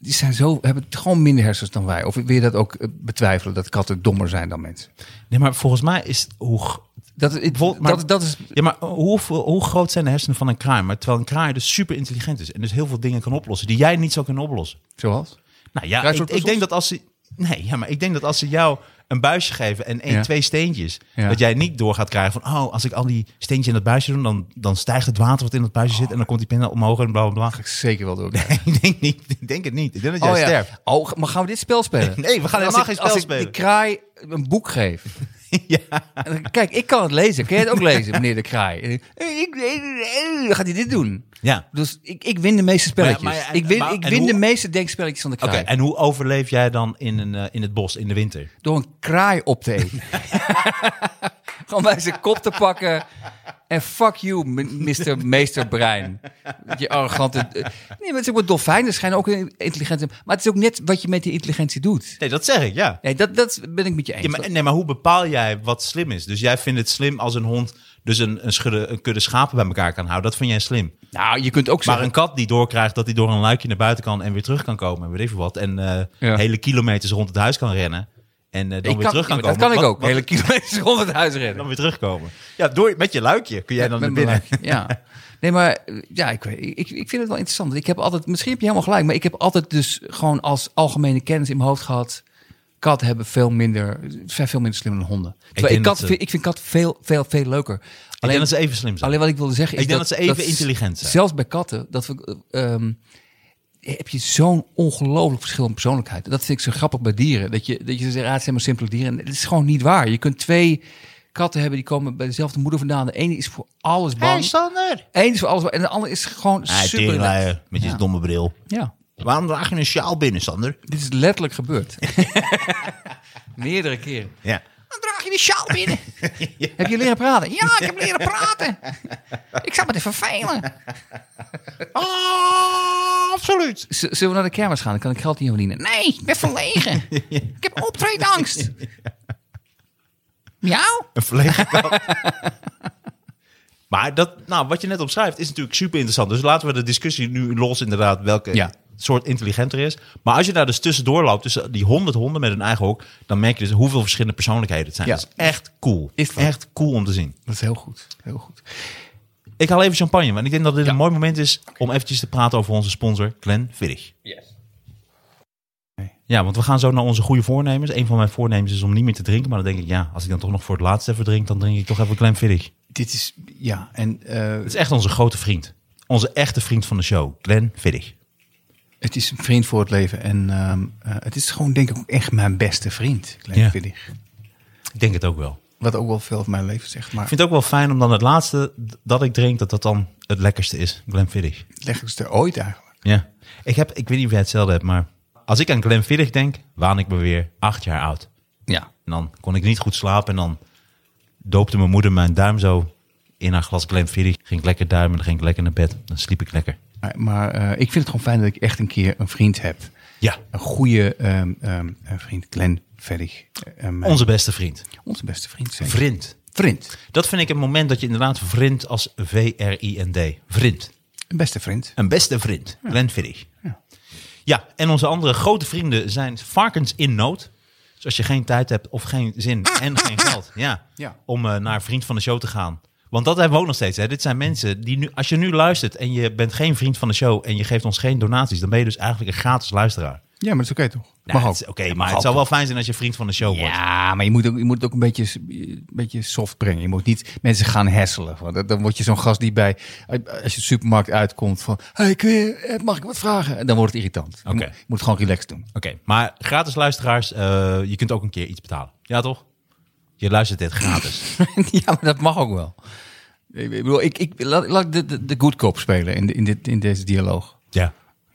Speaker 3: Die zijn zo, hebben gewoon minder hersens dan wij. Of wil je dat ook eh, betwijfelen, dat katten dommer zijn dan mensen?
Speaker 2: Nee, maar volgens mij is het hoe. g-
Speaker 3: Dat, ik-
Speaker 2: Bijvoorbeeld, maar-
Speaker 3: dat, dat is...
Speaker 2: Ja, maar hoe, hoe groot zijn de hersenen van een kraai? Maar terwijl een kraai dus super intelligent is en dus heel veel dingen kan oplossen die jij niet zou kunnen oplossen.
Speaker 3: Zoals?
Speaker 2: Nou ja,
Speaker 3: Kruiswoord
Speaker 2: ik, ik
Speaker 3: puzzels?
Speaker 2: denk dat als ze. Nee, ja, maar ik denk dat als ze jou een buisje geven en één,
Speaker 3: Ja.
Speaker 2: twee steentjes.
Speaker 3: Ja.
Speaker 2: Dat jij niet door gaat krijgen van, oh, als ik al die steentjes in dat buisje doe, dan, dan stijgt het water wat in dat buisje zit en dan komt die pinda omhoog en bla bla (laughs) bla.
Speaker 3: Zeker wel door.
Speaker 2: ik denk niet, ik denk het niet. Ik denk dat jij
Speaker 3: oh, ja.
Speaker 2: sterft.
Speaker 3: oh, maar gaan we dit spel spelen?
Speaker 2: Nee, we gaan
Speaker 3: Als
Speaker 2: helemaal
Speaker 3: ik-
Speaker 2: geen
Speaker 3: als
Speaker 2: spel
Speaker 3: ik
Speaker 2: spelen.
Speaker 3: de kraai een boek geef.
Speaker 2: ja.
Speaker 3: En dan- Kijk, ik kan het lezen. Kun jij het ook lezen, meneer de kraai? En ik- ik- ik- Dan gaat hij dit doen.
Speaker 2: ja.
Speaker 3: Dus ik, ik win de meeste spelletjes.
Speaker 2: Maar ja, maar ja, en-
Speaker 3: ik win,
Speaker 2: maar-
Speaker 3: ik
Speaker 2: en
Speaker 3: win
Speaker 2: hoe-
Speaker 3: de meeste denkspelletjes van de
Speaker 2: Oké,
Speaker 3: kraai.
Speaker 2: en hoe overleef jij dan in, een, eh, in het bos in de winter?
Speaker 3: Door een kraai op te eten. (laughs) Gewoon bij zijn kop te pakken. En fuck you, m- Mr. Meester Brein. Je arrogante... eh, Nee, maar het is ook wel dolfijnen schijnen ook intelligent te zijn. Maar het is ook net wat je met die intelligentie doet.
Speaker 2: Nee, dat zeg ik, ja.
Speaker 3: Nee, dat, dat ben ik met je eens.
Speaker 2: Ja, maar, nee, maar hoe bepaal jij wat slim is? Dus jij vindt het slim als een hond dus een, een, schudde, een kudde schapen bij elkaar kan houden. Dat vind jij slim.
Speaker 3: Nou, je kunt ook
Speaker 2: Maar
Speaker 3: zeggen...
Speaker 2: een kat die doorkrijgt dat hij door een luikje naar buiten kan en weer terug kan komen en weet ik veel wat. En eh,
Speaker 3: Ja.
Speaker 2: hele kilometers rond het huis kan rennen en eh, dan
Speaker 3: Ik
Speaker 2: weer
Speaker 3: kan-
Speaker 2: terug kan
Speaker 3: dat
Speaker 2: komen.
Speaker 3: kan ik
Speaker 2: Wat-
Speaker 3: ook.
Speaker 2: wat-
Speaker 3: Hele (laughs) kilometers rond het huis
Speaker 2: (laughs)
Speaker 3: rennen.
Speaker 2: dan weer terugkomen. Ja, door, met je luikje kun
Speaker 3: (laughs)
Speaker 2: jij dan naar
Speaker 3: Met
Speaker 2: binnen.
Speaker 3: mijn lijf, Ja. Nee, maar eh, ja, ik, weet- ik, ik vind het wel interessant. Ik heb altijd, misschien heb je helemaal gelijk, maar ik heb altijd dus gewoon als algemene kennis in mijn hoofd gehad. Katten hebben veel minder, zijn veel minder slim dan honden. Terwijl ik,
Speaker 2: denk
Speaker 3: kat,
Speaker 2: dat ze-
Speaker 3: vind- ik vind kat veel, veel, veel leuker.
Speaker 2: Ik denk
Speaker 3: Alleen,
Speaker 2: dat ze even slim zijn.
Speaker 3: alleen wat ik wilde zeggen is
Speaker 2: Ik denk
Speaker 3: dat,
Speaker 2: dat ze even intelligent
Speaker 3: s-
Speaker 2: zijn.
Speaker 3: Zelfs bij katten, dat we, eh, ehm, heb je zo'n ongelooflijk verschil in persoonlijkheid. En Dat vind ik zo grappig bij dieren. Dat je, dat je zegt, ah, het zijn maar simpele dieren. En Het is gewoon niet waar. Je kunt twee katten hebben die komen bij dezelfde moeder vandaan. De ene is voor alles bang.
Speaker 2: Sander!
Speaker 3: Eén is voor alles, en de andere is gewoon
Speaker 2: Ah,
Speaker 3: super. relaxed.
Speaker 2: met je
Speaker 3: Ja.
Speaker 2: domme bril.
Speaker 3: Ja,
Speaker 2: Waarom draag je een sjaal binnen, Sander?
Speaker 3: dit is letterlijk
Speaker 2: (laughs)
Speaker 3: gebeurd. Meerdere keren.
Speaker 2: Ja.
Speaker 3: Dan draag je die sjaal (laughs) binnen. Heb je leren praten? Ja, ik heb leren praten. Ik zat me te vervelen. Ah,
Speaker 2: absoluut.
Speaker 3: Z- zullen we naar de kermis gaan? Dan kan ik geld niet aan verdienen. Nee, ik ben verlegen. Ik heb optreedangst. Miauw?
Speaker 2: Een verlegen kat. maar dat, nou, wat je net opschrijft is natuurlijk super interessant. Dus laten we de discussie nu los inderdaad welke
Speaker 3: Ja.
Speaker 2: soort intelligenter is. Maar als je daar dus tussendoor loopt, tussen die honderd honden met hun eigen hok, dan merk je dus hoeveel verschillende persoonlijkheden het zijn.
Speaker 3: Ja.
Speaker 2: Dat is echt cool.
Speaker 3: Is het wel.
Speaker 2: echt cool om te zien.
Speaker 3: Dat is heel goed. Heel goed.
Speaker 2: Ik haal even champagne, want ik denk dat dit een mooi moment is om eventjes te praten over onze sponsor Glenfiddich. Ja, want we gaan zo naar onze goede voornemens. Een van mijn voornemens is om niet meer te drinken. Maar dan denk ik, ja, als ik dan toch nog voor het laatst even drink, dan drink ik toch even Glenfiddich.
Speaker 3: Dit is, ja, en eh,
Speaker 2: Het is echt onze grote vriend. Onze echte vriend van de show, Glenn Viddig.
Speaker 3: het is een vriend voor het leven. En ehm, eh, het is gewoon denk ik ook echt mijn beste vriend, Klein
Speaker 2: Ja.
Speaker 3: Viddig.
Speaker 2: Ik denk het ook wel.
Speaker 3: Wat ook wel veel van mijn leven zegt. Maar
Speaker 2: Ik vind het ook wel fijn om dan het laatste d- dat ik drink, dat dat dan het lekkerste is. Glenn Viddig.
Speaker 3: leg ik ze er ooit eigenlijk.
Speaker 2: Ja. Ik, heb, ik weet niet of jij hetzelfde hebt, maar als ik aan Glenn Viddig denk, waan ik me weer acht jaar oud.
Speaker 3: Ja.
Speaker 2: En dan kon ik niet goed slapen en dan doopte mijn moeder mijn duim zo in haar glas Glenn Viddig. Ging ik lekker duimen, dan ging ik lekker naar bed. Dan sliep ik lekker.
Speaker 3: Maar, maar, eh, ik vind het gewoon fijn dat ik echt een keer een vriend heb.
Speaker 2: Ja,
Speaker 3: Een goede ehm, ehm, eh, vriend, Glenn Verdig. Eh, mijn-
Speaker 2: onze beste vriend.
Speaker 3: onze beste vriend. zeker.
Speaker 2: Vriend.
Speaker 3: Vriend.
Speaker 2: Dat vind ik een moment dat je inderdaad vriend als V-R-I-N-D. Vriend.
Speaker 3: Een beste vriend.
Speaker 2: Een beste vriend, Glenn Viddig.
Speaker 3: Ja.
Speaker 2: Ja. en onze andere grote vrienden zijn varkens in nood. Dus als je geen tijd hebt of geen zin en
Speaker 3: (laughs)
Speaker 2: geen geld ja,
Speaker 3: Ja.
Speaker 2: om eh, naar vriend van de show te gaan. Want dat hebben we ook nog steeds. Hè. Dit zijn mensen die nu, als je nu luistert en je bent geen vriend van de show en je geeft ons geen donaties, dan ben je dus eigenlijk een gratis luisteraar.
Speaker 3: Ja, maar dat is oké toch?
Speaker 2: Nou,
Speaker 3: Mag
Speaker 2: het
Speaker 3: ook.
Speaker 2: is Oké, maar het zou wel fijn zijn als je vriend van de show wordt.
Speaker 3: Ja, maar je moet, ook, je moet het ook een beetje, een beetje soft brengen. Je moet niet mensen gaan hesselen. Want dat- dan word je zo'n gast die bij, eh, als je de supermarkt uitkomt van... Hey, kun je, eh, mag ik wat vragen? En dan wordt het irritant. Je
Speaker 2: Oké.
Speaker 3: moet- Je moet het gewoon relaxed doen.
Speaker 2: Oké, maar gratis luisteraars, eh, je kunt ook een keer iets betalen. Ja, toch? Je luistert dit
Speaker 3: (sniffs)
Speaker 2: gratis.
Speaker 3: (laughs) ja, maar dat mag ook wel. Ik bedoel, ik, ik, laat, laat ik de, de, de good cop spelen in, de- in, dit, in deze dialoog.
Speaker 2: ja.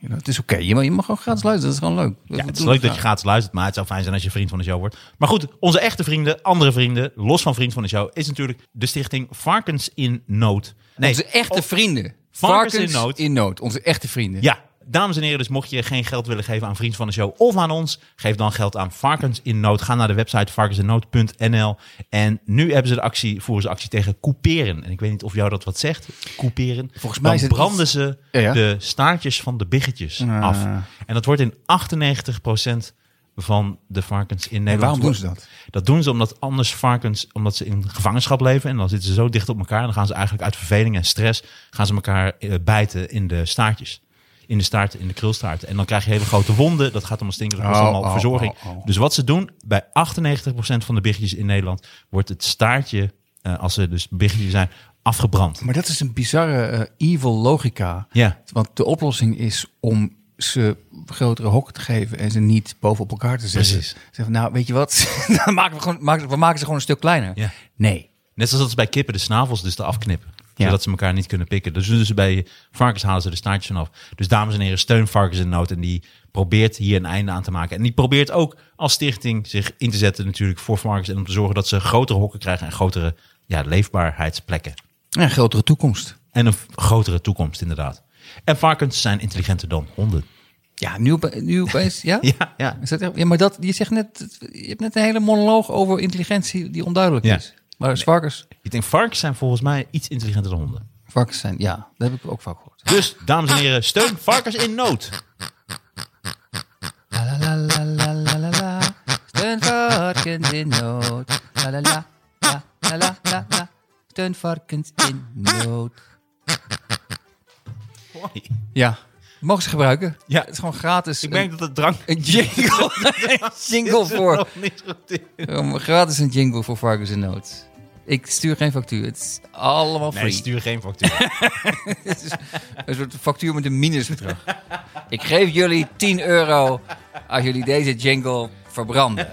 Speaker 3: Ja, het is oké, je, mag, je mag gewoon gratis luisteren, dat is gewoon leuk.
Speaker 2: Ja, het is leuk dat je
Speaker 3: gaat.
Speaker 2: gratis luistert, maar het zou fijn zijn als je vriend van de show wordt. Maar goed, onze echte vrienden, andere vrienden, los van vriend van de show, is natuurlijk de stichting Varkens in Nood. Nee,
Speaker 3: Onze echte vrienden.
Speaker 2: Varkens in nood.
Speaker 3: in nood. Onze echte vrienden.
Speaker 2: ja. Dames en heren, dus mocht je geen geld willen geven aan vriend van de show of aan ons, geef dan geld aan Varkens in Nood. Ga naar de website varkensinnood.nl. En nu hebben ze de actie, voeren ze actie tegen couperen. En ik weet niet of jou dat wat zegt, couperen.
Speaker 3: Volgens mij
Speaker 2: dan
Speaker 3: is het
Speaker 2: branden
Speaker 3: iets-
Speaker 2: ze
Speaker 3: Ja, ja.
Speaker 2: de staartjes van de biggetjes
Speaker 3: Ah.
Speaker 2: af. En dat wordt in 98% van de varkens in
Speaker 3: En
Speaker 2: Nederland.
Speaker 3: waarom doen ze dat?
Speaker 2: Dat doen ze omdat anders varkens, omdat ze in gevangenschap leven en dan zitten ze zo dicht op elkaar. En dan gaan ze eigenlijk uit verveling en stress gaan ze elkaar eh, bijten in de staartjes. in de staart, in de krulstaart. En dan krijg je hele grote wonden. Dat gaat allemaal stinken. Dat kost
Speaker 3: Oh,
Speaker 2: allemaal
Speaker 3: oh,
Speaker 2: verzorging.
Speaker 3: oh, oh.
Speaker 2: Dus wat ze doen, bij 98% van de biggetjes in Nederland wordt het staartje, eh, als ze dus biggetjes zijn, afgebrand.
Speaker 3: Maar dat is een bizarre eh, evil logica.
Speaker 2: Ja,
Speaker 3: Want de oplossing is om ze grotere hokken te geven en ze niet bovenop elkaar te zetten.
Speaker 2: Precies.
Speaker 3: Zeg van, nou, weet je wat? (laughs) Dan maken we, gewoon, maken, we maken ze gewoon een stuk kleiner.
Speaker 2: ja.
Speaker 3: Nee.
Speaker 2: Net zoals dat ze bij kippen de snavels dus te afknippen.
Speaker 3: Ja.
Speaker 2: Zodat ze elkaar niet kunnen pikken. Dus, doen ze bij varkens halen ze de staartjes vanaf. Dus dames en heren, steun varkens in nood. En die probeert hier een einde aan te maken. En die probeert ook als stichting zich in te zetten natuurlijk voor varkens. En om te zorgen dat ze grotere hokken krijgen en grotere ja, leefbaarheidsplekken.
Speaker 3: Ja, grotere toekomst.
Speaker 2: En een v- grotere toekomst inderdaad. En varkens zijn intelligenter dan honden.
Speaker 3: Ja, nu, op- nu opeens, ja?
Speaker 2: (laughs) Ja, ja.
Speaker 3: Is dat, echt- ja, maar dat, je zegt net, je hebt net een hele monoloog over intelligentie die onduidelijk
Speaker 2: Ja.
Speaker 3: is. Maar varkens,
Speaker 2: Ik denk varkens zijn volgens mij iets intelligenter dan honden.
Speaker 3: varkens zijn, ja, dat heb ik ook vaak gehoord.
Speaker 2: Dus dames en heren, steun varkens in nood.
Speaker 3: La la la la la la la. Steun varkens in nood. La la la la la la la la. Steun varkens in nood.
Speaker 2: Hoi.
Speaker 3: Ja, mogen ze gebruiken.
Speaker 2: Ja.
Speaker 3: Het is gewoon gratis.
Speaker 2: Ik merk dat het drank...
Speaker 3: een, een
Speaker 2: (laughs)
Speaker 3: jingle, (laughs) een jingle voor,
Speaker 2: niet goed is.
Speaker 3: um, gratis een jingle voor varkens in nood. Ik stuur geen factuur, het is allemaal free.
Speaker 2: Nee, stuur geen factuur.
Speaker 3: (laughs) Het is een soort factuur met een minusbedrag. Ik geef jullie 10 euro als jullie deze jingle verbranden.